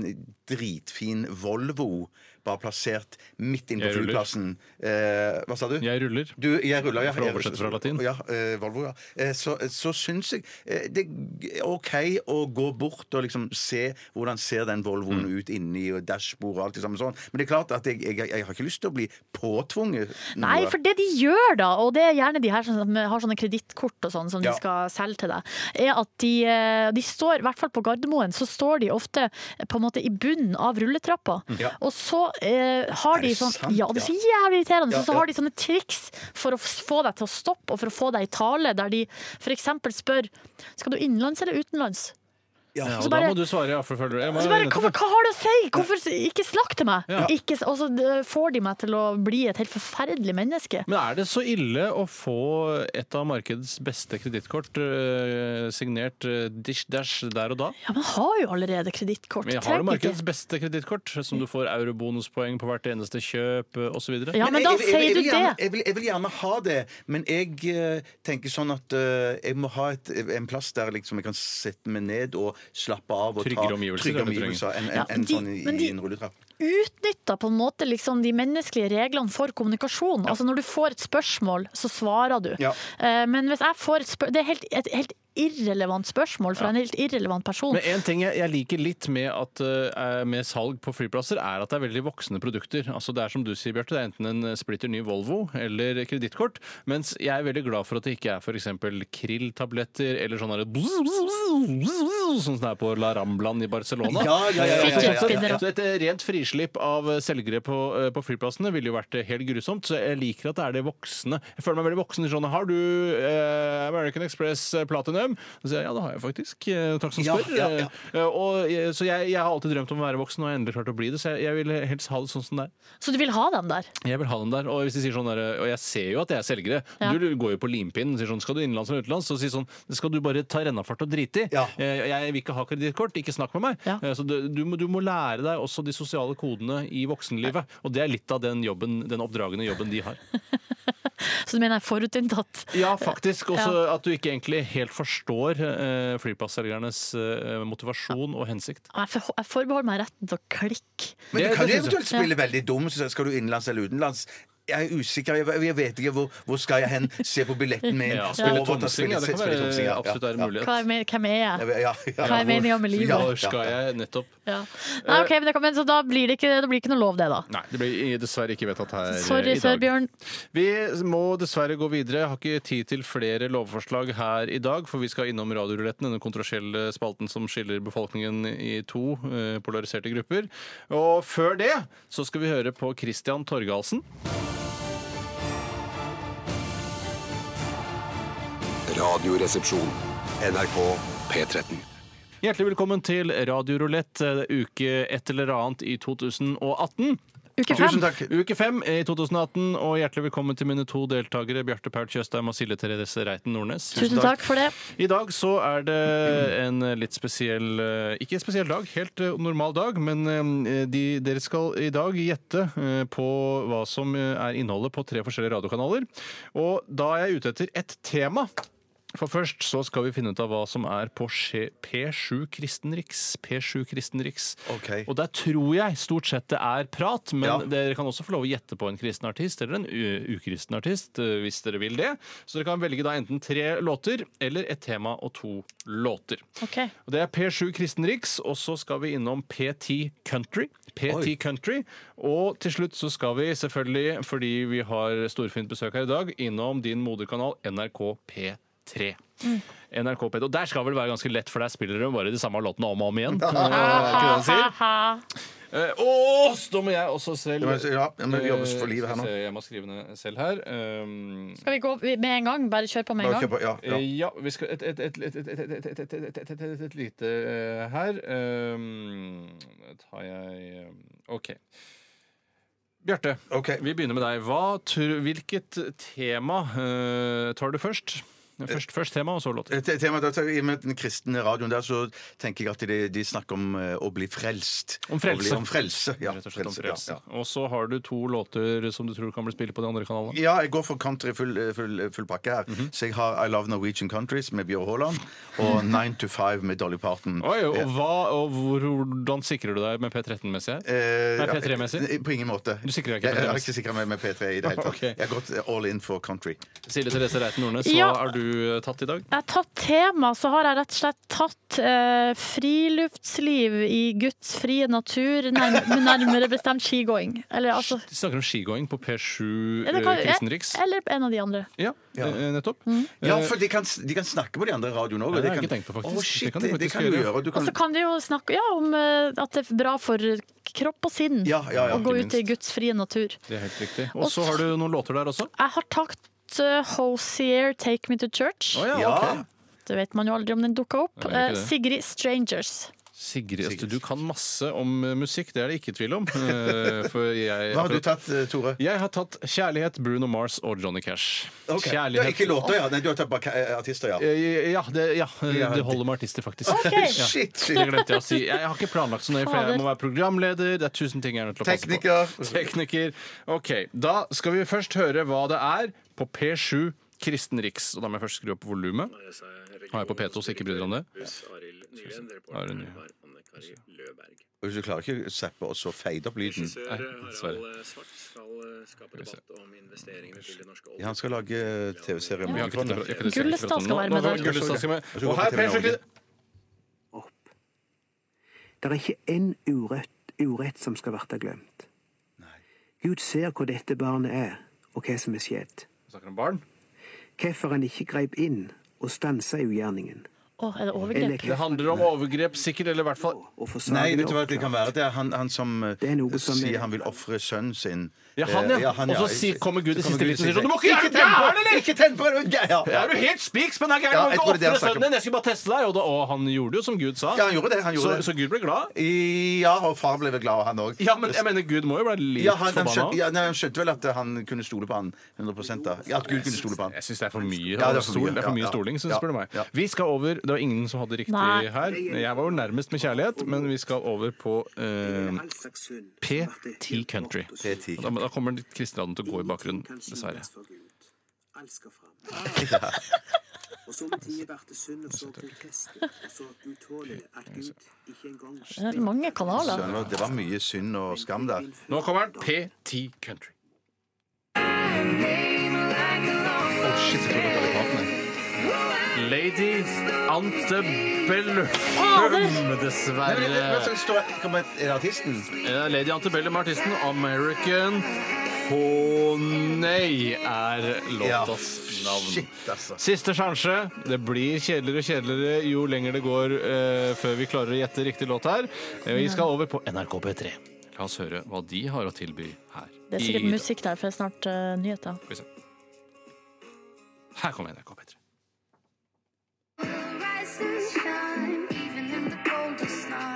D: dritfin Volvo bare plassert midt inne på
C: Jeg ruller.
D: flyplassen eh, Hva sa du?
C: Jeg ruller.
D: Du, jeg ruller, ja.
C: For å
D: Jeg-
C: oversette fra latin.
D: Ja, eh, Volvo, ja. Eh, så, så syns jeg eh, det er OK å gå bort og liksom se hvordan ser den Volvoen
C: Mm.
D: ut inni og dashbord og alt det samme sånn. Men det er klart at jeg, jeg, jeg har ikke lyst til å bli påtvunget noe.
E: Nei, for det de gjør da, og det er gjerne de her som har sånne kredittkort og sånn som
D: Ja.
E: de skal selge til deg, er at de, eh, de står, i hvert fall på Gardermoen, så står de ofte eh, på en måte i bunnen av rulletrappa.
D: Ja.
E: Og så eh, har
D: Mm. Er det
E: de sånn
D: sant?
E: Ja, det er så jævlig irriterende.
D: Ja,
E: så, så
D: ja.
E: har de sånne triks for å f- få deg til å stoppe, og for å få deg i tale, der de f.eks. spør Skal du innenlands eller utenlands?
C: Ja, og
E: Så bare-
C: da må du svare ja, for følger du. Jeg må-
E: Så bare, hvorfor, hva har det å si? Hvorfor ikke snakk til meg?
C: Ja.
E: Ikke, s- og så eh, får de meg til å bli et helt forferdelig menneske.
C: Men er det så ille å få et av markedets beste kredittkort eh, signert eh, dish dash der og da?
E: Ja, men har jo allerede kredittkort.
C: Men jeg har jo
E: Trenger ikke.
C: markedets beste kredittkort, som du får eurobonuspoeng på hvert eneste kjøp eh, osv.
E: Ja, men da
D: jeg- jeg- jeg-
E: sier
D: jeg
E: du
D: vil gjerne-
E: det.
D: Jeg vil, jeg vil gjerne ha det, men jeg eh, tenker sånn at eh, jeg må ha et, en plass der liksom jeg kan sette meg ned og slappe av og
C: Tryggere
D: ta
C: omgivelser,
D: trygge
C: er det du
D: omgivelser enn en,
E: Ja, men de-
D: sånn i,
E: men de-
D: i en rulletrapp.
E: Utnytta på en måte liksom de menneskelige reglene for kommunikasjon. Altså Når du får et spørsmål, så svarer du.
D: Ja.
E: Eh, Men hvis jeg får et spørsmål Det er helt, et helt irrelevant spørsmål fra en helt irrelevant person.
C: Men en ting jeg, jeg liker litt med, at, eh, med salg på flyplasser, er at det er veldig voksne produkter. Altså Det er som du sier, Bjarte, det er enten en splitter ny Volvo eller kredittkort. Mens jeg er veldig glad for at det ikke er f.eks. krilltabletter eller sånn derre bzz, bzz, bzz, bzz, Sånn som det er på La Ramblan i Barcelona.
D: Ja, ja, ja, ja,
E: ja, ja, ja, ja.
C: Så et eh, rent frislipp av eh, selgere på, eh, på flyplassene ville jo vært eh, helt grusomt, så jeg liker at det er det voksne. Jeg føler meg veldig voksen i sånn Har du eh, American Express eh, Platinum? Og så sier jeg ja, det har jeg faktisk. Eh, takk som
D: Ja,
C: spør.
D: ja, ja.
C: Eh, og, jeg- så jeg, jeg har alltid drømt om å være voksen, og jeg har endelig klart å bli det, så jeg, jeg vil helst ha det sånn som det er.
E: Så du vil ha dem der?
C: Jeg vil ha dem der, Og hvis de sier sånn der, og jeg ser jo at jeg er selgere
E: Ja.
C: Du går jo på limpinnen og sier sånn Skal du innenlands eller utenlands? Så sier sånn Det skal du bare ta rennafart og drite i.
D: Ja.
C: Eh, Jeg vil ikke ha kredittkort, ikke snakk med meg.
E: Ja.
C: Eh, Så du, du, må, du må lære deg også de sosiale kodene i voksenlivet. Og det er litt av den jobben, den oppdragende jobben de har.
E: Så du mener jeg er forutinntatt?
C: Ja, faktisk. Også at du ikke egentlig helt forstår eh, flyplasselgernes eh, motivasjon og hensikt.
E: Jeg for- jeg forbeholder meg retten til å klikke.
D: Men
C: Det-
D: du kan
C: det
D: jo
C: synes
D: eventuelt spille veldig dum. Så skal du innenlands eller utenlands? Jeg er usikker. Jeg, jeg vet ikke hvor, hvor skal jeg hen. Se på billetten
E: [LAUGHS]
D: min.
C: Ja, spille
D: spille overta,
C: tomsing,
D: spille-
C: ja, det kan
D: spille tomsing,
C: være
D: ja,
C: absolutt være en
D: ja.
E: Hva
C: mulighet.
E: er me- Hvem er jeg?
D: Ja, ja, ja.
E: Hva er meningen med livet?
D: Ja,
C: Hvor skal
D: ja.
C: jeg nettopp?
E: Ja. Nei, ok, men, det, kan- men Så da blir det ikke, det blir ikke noe lov, det, da.
C: Nei, det blir dessverre ikke vedtatt her eh,
E: Sorry,
C: i dag.
E: Sørbjørn.
C: Vi må dessverre gå videre. Jeg har ikke tid til flere lovforslag her i dag, for vi skal innom Radioruletten, denne kontroversielle spalten som skiller befolkningen i to eh, polariserte grupper. Og før det så skal vi høre på Christian Torgalsen.
B: Radioresepsjon. NRK P13.
C: Hjertelig velkommen til Radiorulett, eh, uke et eller annet i 2018.
E: Uke fem.
D: Tusen takk.
C: Uke fem i 2018, og hjertelig velkommen til mine to deltakere, Bjarte Paul Tjøstheim og Silje Therese Reiten Nordnes.
E: Tusen takk for det.
C: I dag så er det en litt spesiell eh, Ikke en spesiell dag, helt eh, normal dag, men eh, de, dere skal i dag gjette eh, på hva som eh, er innholdet på tre forskjellige radiokanaler. Og da er jeg ute etter ett tema. For først så skal vi finne ut av hva som er på skje- P7 Kristenriks. P7 Kristenriks.
D: Ok.
C: Og der tror jeg stort sett det er prat, men
D: Ja.
C: dere kan også få lov å gjette på en kristen artist eller en u- ukristen artist eh, hvis dere vil det. Så dere kan velge da enten tre låter eller et tema og to låter.
E: Ok.
C: Og Det er P7 Kristenriks, og så skal vi innom P10 Country. P10 Country. Og til slutt så skal vi selvfølgelig, fordi vi har storfint besøk her i dag, innom din moderkanal NRK P3. NRK P3. Og der skal vel være ganske lett, for der spiller de bare de samme låtene om og om
D: [LAUGHS]
C: igjen. Eh, er ikke det han sier? Eh, Å, så da må jeg også selv
D: Ja, men- ja, men vi jobber for livet her nå.
C: Skal vi se, Jeg må skrive ned selv her. Um,
E: Skal vi gå med en gang? Bare kjør på med en
D: Bare
E: gang.
D: kjør på, ja,
C: Eh,
D: ja.
C: Ja, vi skal et, et, et, et, et, et, et, et, et, et, et, et, et, et lite eh, her. Ehm, tar jeg eh, OK. Bjarte,
D: Ok.
C: vi begynner med deg. Hva, tr- hvilket tema eh, tar du først? Først, først tema, og så låt.
D: Et- et tema, da, tar- I og med den kristne radioen der, så tenker jeg at de, de snakker om eh, å bli frelst.
C: Om frelse.
D: Å bli- Om frelse, ja.
C: Rett og slett om frelse.
D: Frelse, ja, ja.
C: Og så har du to låter som du tror kan bli spilt på Mhm. de andre kanalene.
D: Ja, jeg går for country full, full, full pakke her. Så jeg har I Love Norwegian Countries med Bjørn Haaland
C: [LAUGHS]
D: og Nine to Five med Dolly Parton.
C: Oi, og, hva, og hvor- hvordan sikrer du deg med P13-messig her?
D: Eh,
C: Nei,
D: ja,
C: P3-messig?
D: På ingen måte.
C: Du sikrer deg ikke
D: Jeg- Jeg har
C: P3-messig?
D: ikke sikra meg med
C: [LAUGHS]
D: P3 i det hele tatt.
C: Ok. Eh,
D: Jeg har gått all in for country.
C: Silje Therese Reiten Nordnes,
E: Ja.
C: hva er du eh, tatt i dag?
E: Jeg har tatt tema, så har jeg rett og slett tatt eh, friluftsliv i Guds frie natur, nærmere, nærmere bestemt skigåing. Eller altså
C: De snakker om skigåing på P7
E: eller, hva-
C: eh, Kristenriks.
E: eller en av de andre.
C: Ja,
D: Ja.
C: eh, nettopp.
E: Mm.
D: Ja,
C: Eh,
D: for de kan, de kan snakke på de andre radioene
C: Ja,
D: òg.
C: det har jeg ikke tenkt på, faktisk.
D: Å,
C: Det
D: shit,
C: kan de
D: det, det
C: faktisk
D: kan du
C: gjøre. Altså,
D: gjøre. og Du
E: Og
D: kan,
E: så Altså, kan vi jo snakke ja, om eh, at det er bra for kropp og sinn
D: ja, ja, ja,
E: å gå
D: ikke
E: ut i
D: minst.
E: Guds frie natur.
C: det er helt riktig. Og så har du noen låter der også.
E: Jeg har tatt eh, Hosier, 'Take Me To Church'.
C: Å ja,
D: Ja.
C: ok.
E: Det vet man jo aldri om den dukka opp.
C: Nei, det er ikke
E: Eh,
C: det.
E: Sigrid 'Strangers'.
C: Sigrid, altså, du kan masse om eh, musikk, det er det ikke tvil om. Eh, For jeg,
D: Hva har du tatt, eh, Tore?
C: jeg har tatt Kjærlighet, Bruno Mars og Johnny Cash.
D: Ok. Du har
C: Kjærlighet
D: ikke låter, ja? Nei, du har tatt bare eh, artister, ja.
C: Eh, Ja, det, ja, det holder med artister, faktisk.
E: Ok.
C: Ja.
D: Shit,
C: Det
D: shit.
C: glemte jeg å si. Jeg har ikke planlagt så nøye, for jeg må være programleder. Det er tusen ting jeg er nødt til å passe på. Tekniker.
D: Tekniker.
C: Ok, Da skal vi først høre hva det er på P7 Kristen Riks. Og da må jeg først skru opp volumet. Har jeg på P2, så ikke bry dere om det. Arild Nyven.
D: Hvis du klarer ikke å zappe og så fade opp lyden
C: Nei, dessverre.
D: Ja, Han skal lage eh, TV-serie om
C: Vi har ikke
D: oljefondet.
C: til- jeg har ikke til-
E: Gullestad skal være med
C: Nå- nå-
E: der.
C: Gullestad skal med.
D: Jeg skal gå
C: Og
D: på
C: her,
D: TV
C: P7
D: Norge.
G: Det er ikke én urett, urett som skal bli glemt. Gud ser hvor dette barnet er, og hva som er skjedd.
C: Snakker om barn.
G: Hvorfor han ikke greip inn og stansa ugjerningen.
E: Å, er det
G: Eller
E: overgrep?
C: Det
G: hvorfor
C: handler om overgrep, sikkert, eller i hvert fall
G: å få saken
D: Nei, vet du hva det kan være?
G: oppklart.
D: Det er han, han som, eh,
G: Det er noe som
D: sier
G: er-
D: han vil ofre sønnen sin.
C: Ja, han, ja.
D: Eh,
C: Og så sier- kommer Gud i
D: Så
C: siste liten og sier
D: sier
C: sånn, «Du må ikke gjøre det,
D: tenn på!
C: gæren, eller?»
D: Ikke tenn på det! du er gæren!» Ja,
C: Er du helt spikspenn? Jeg,
D: Ja,
C: jeg,
D: jeg
C: ikke
D: tror det er
C: ofre
D: det han snakker om.
C: sønnen din, jeg skulle bare teste deg. Og, da, og han gjorde jo som Gud sa.
D: Ja, han gjorde det, han gjorde
C: så,
D: det.
C: så Gud ble glad.
D: Ja, og far ble vel glad, han òg.
C: Ja, men jeg mener, Gud må jo bli litt
D: Ja, han, han,
C: forbanna.
D: skjønte, ja, nei, han skjønte vel at eh, han kunne stole på han 100 da. Ja, at Gud kunne stole på han.
C: Jeg syns det er for mye.
D: Ja, det er for
C: stol,
D: mye.
C: det er for mye
D: Ja, ja.
C: stoling, synes
D: Ja,
C: spør du meg.
D: ja.
C: Vi skal over Det var ingen som hadde riktig
E: Nei.
C: her. Jeg var jo nærmest med kjærlighet, men vi skal over på
D: um,
C: eh, P10 Country.
D: P10
C: Da, da kommer litt kristenraden til å gå i bakgrunnen, dessverre.
G: Alt
D: [LAUGHS]
G: skal fram. Og så med tida blir det synd og så grotesk og så utålelig at Gud ikke engang
E: Det er mange kanaler.
D: Søren, Det var mye synd og skam der.
C: Nå kommer den. P10 Country.
D: Å, shit, jeg tror det var Dolly Parton, jeg.
C: Lady Antebellum,
D: Nei, men, men, men,
C: dessverre.
D: så står jeg- kommer et- Er det artisten?
C: Eh, Lady Antebellum, artisten American Honey er låtas navn.
D: Shit, altså.
C: Siste sjanse. Det blir kjedeligere og kjedeligere jo lenger det går eh, før vi klarer å gjette riktig låt her. Eh, Vi skal over på NRK P3. La oss høre hva de har å tilby her.
E: Det er sikkert
C: I-
E: musikk der, for det er snart eh, nyheter.
C: Skal vi se. Her kommer NRK P3.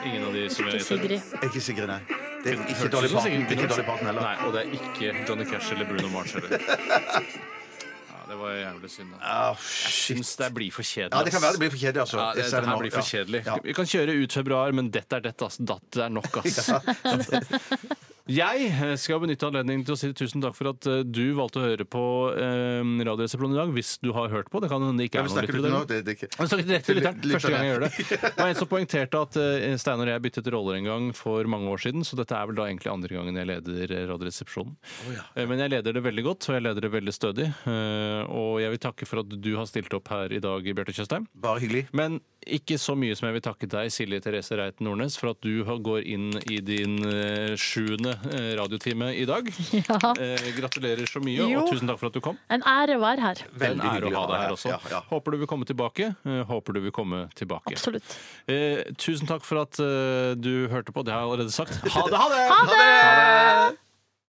C: Ingen av de som
E: Ikke Sigrid.
D: Jeg er ikke Sigrid, nei. Det er ikke Dolly Parton, det er ikke Dolly Parton heller.
C: Nei, og det er ikke Johnny Cash eller Bruno Mars
D: [LAUGHS]
C: heller. Ja, det var jævlig synd. da.
D: Ah, shit.
C: Syns det blir for kjedelig.
D: Ja, det kan være
C: ass.
D: det blir for kjedelig, altså.
C: Ja, det,
D: Jeg ser
C: det her
D: nå.
C: blir for
D: Ja.
C: kjedelig.
D: Ja.
C: Vi kan kjøre ut februar, men dette er dette, ass. Datt er nok,
D: [LAUGHS]
C: ass. [LAUGHS] Jeg eh, skal benytte anledningen til å si tusen takk for at eh, du valgte å høre på eh, Radioresepsjonen i dag, hvis du har hørt på. Det kan hende det ikke
D: Hvem
C: er noen
D: snakker
C: lyttere der
D: du til nå?
C: ute.
D: Det, det er ikke...
C: Han snakket direkte til lytteren.
D: Lytterne.
C: Første gang jeg gjør det. Det var en som poengterte at eh, Steinar og jeg byttet roller en gang for mange år siden, så dette er vel da egentlig andre gangen jeg leder eh, Radioresepsjonen. Eh, Men jeg leder det veldig godt, og jeg leder det veldig stødig. Eh, Og jeg vil takke for at du har stilt opp her i dag, Bjarte Tjøstheim.
D: Bare hyggelig.
C: Men ikke så mye som jeg vil takke deg, Silje Therese Reiten Nordnes, for at du har- går inn i din eh, sjuende eh, radiotime i dag.
E: [LAUGHS] Ja.
C: Eh, gratulerer så mye, og
E: Jo.
C: tusen takk for at du kom.
E: En ære å være her.
C: Det er en
D: Veldig
C: ære
D: hyggelig
C: å ha
D: å
C: deg
D: være
C: her
D: her.
C: også.
D: Ja, ja.
C: Håper du vil komme tilbake. Eh, håper du vil komme tilbake.
E: Absolutt.
C: Eh, tusen takk for at eh, du hørte på. Det har jeg allerede sagt. Ha det! Ha det!
E: Ha det!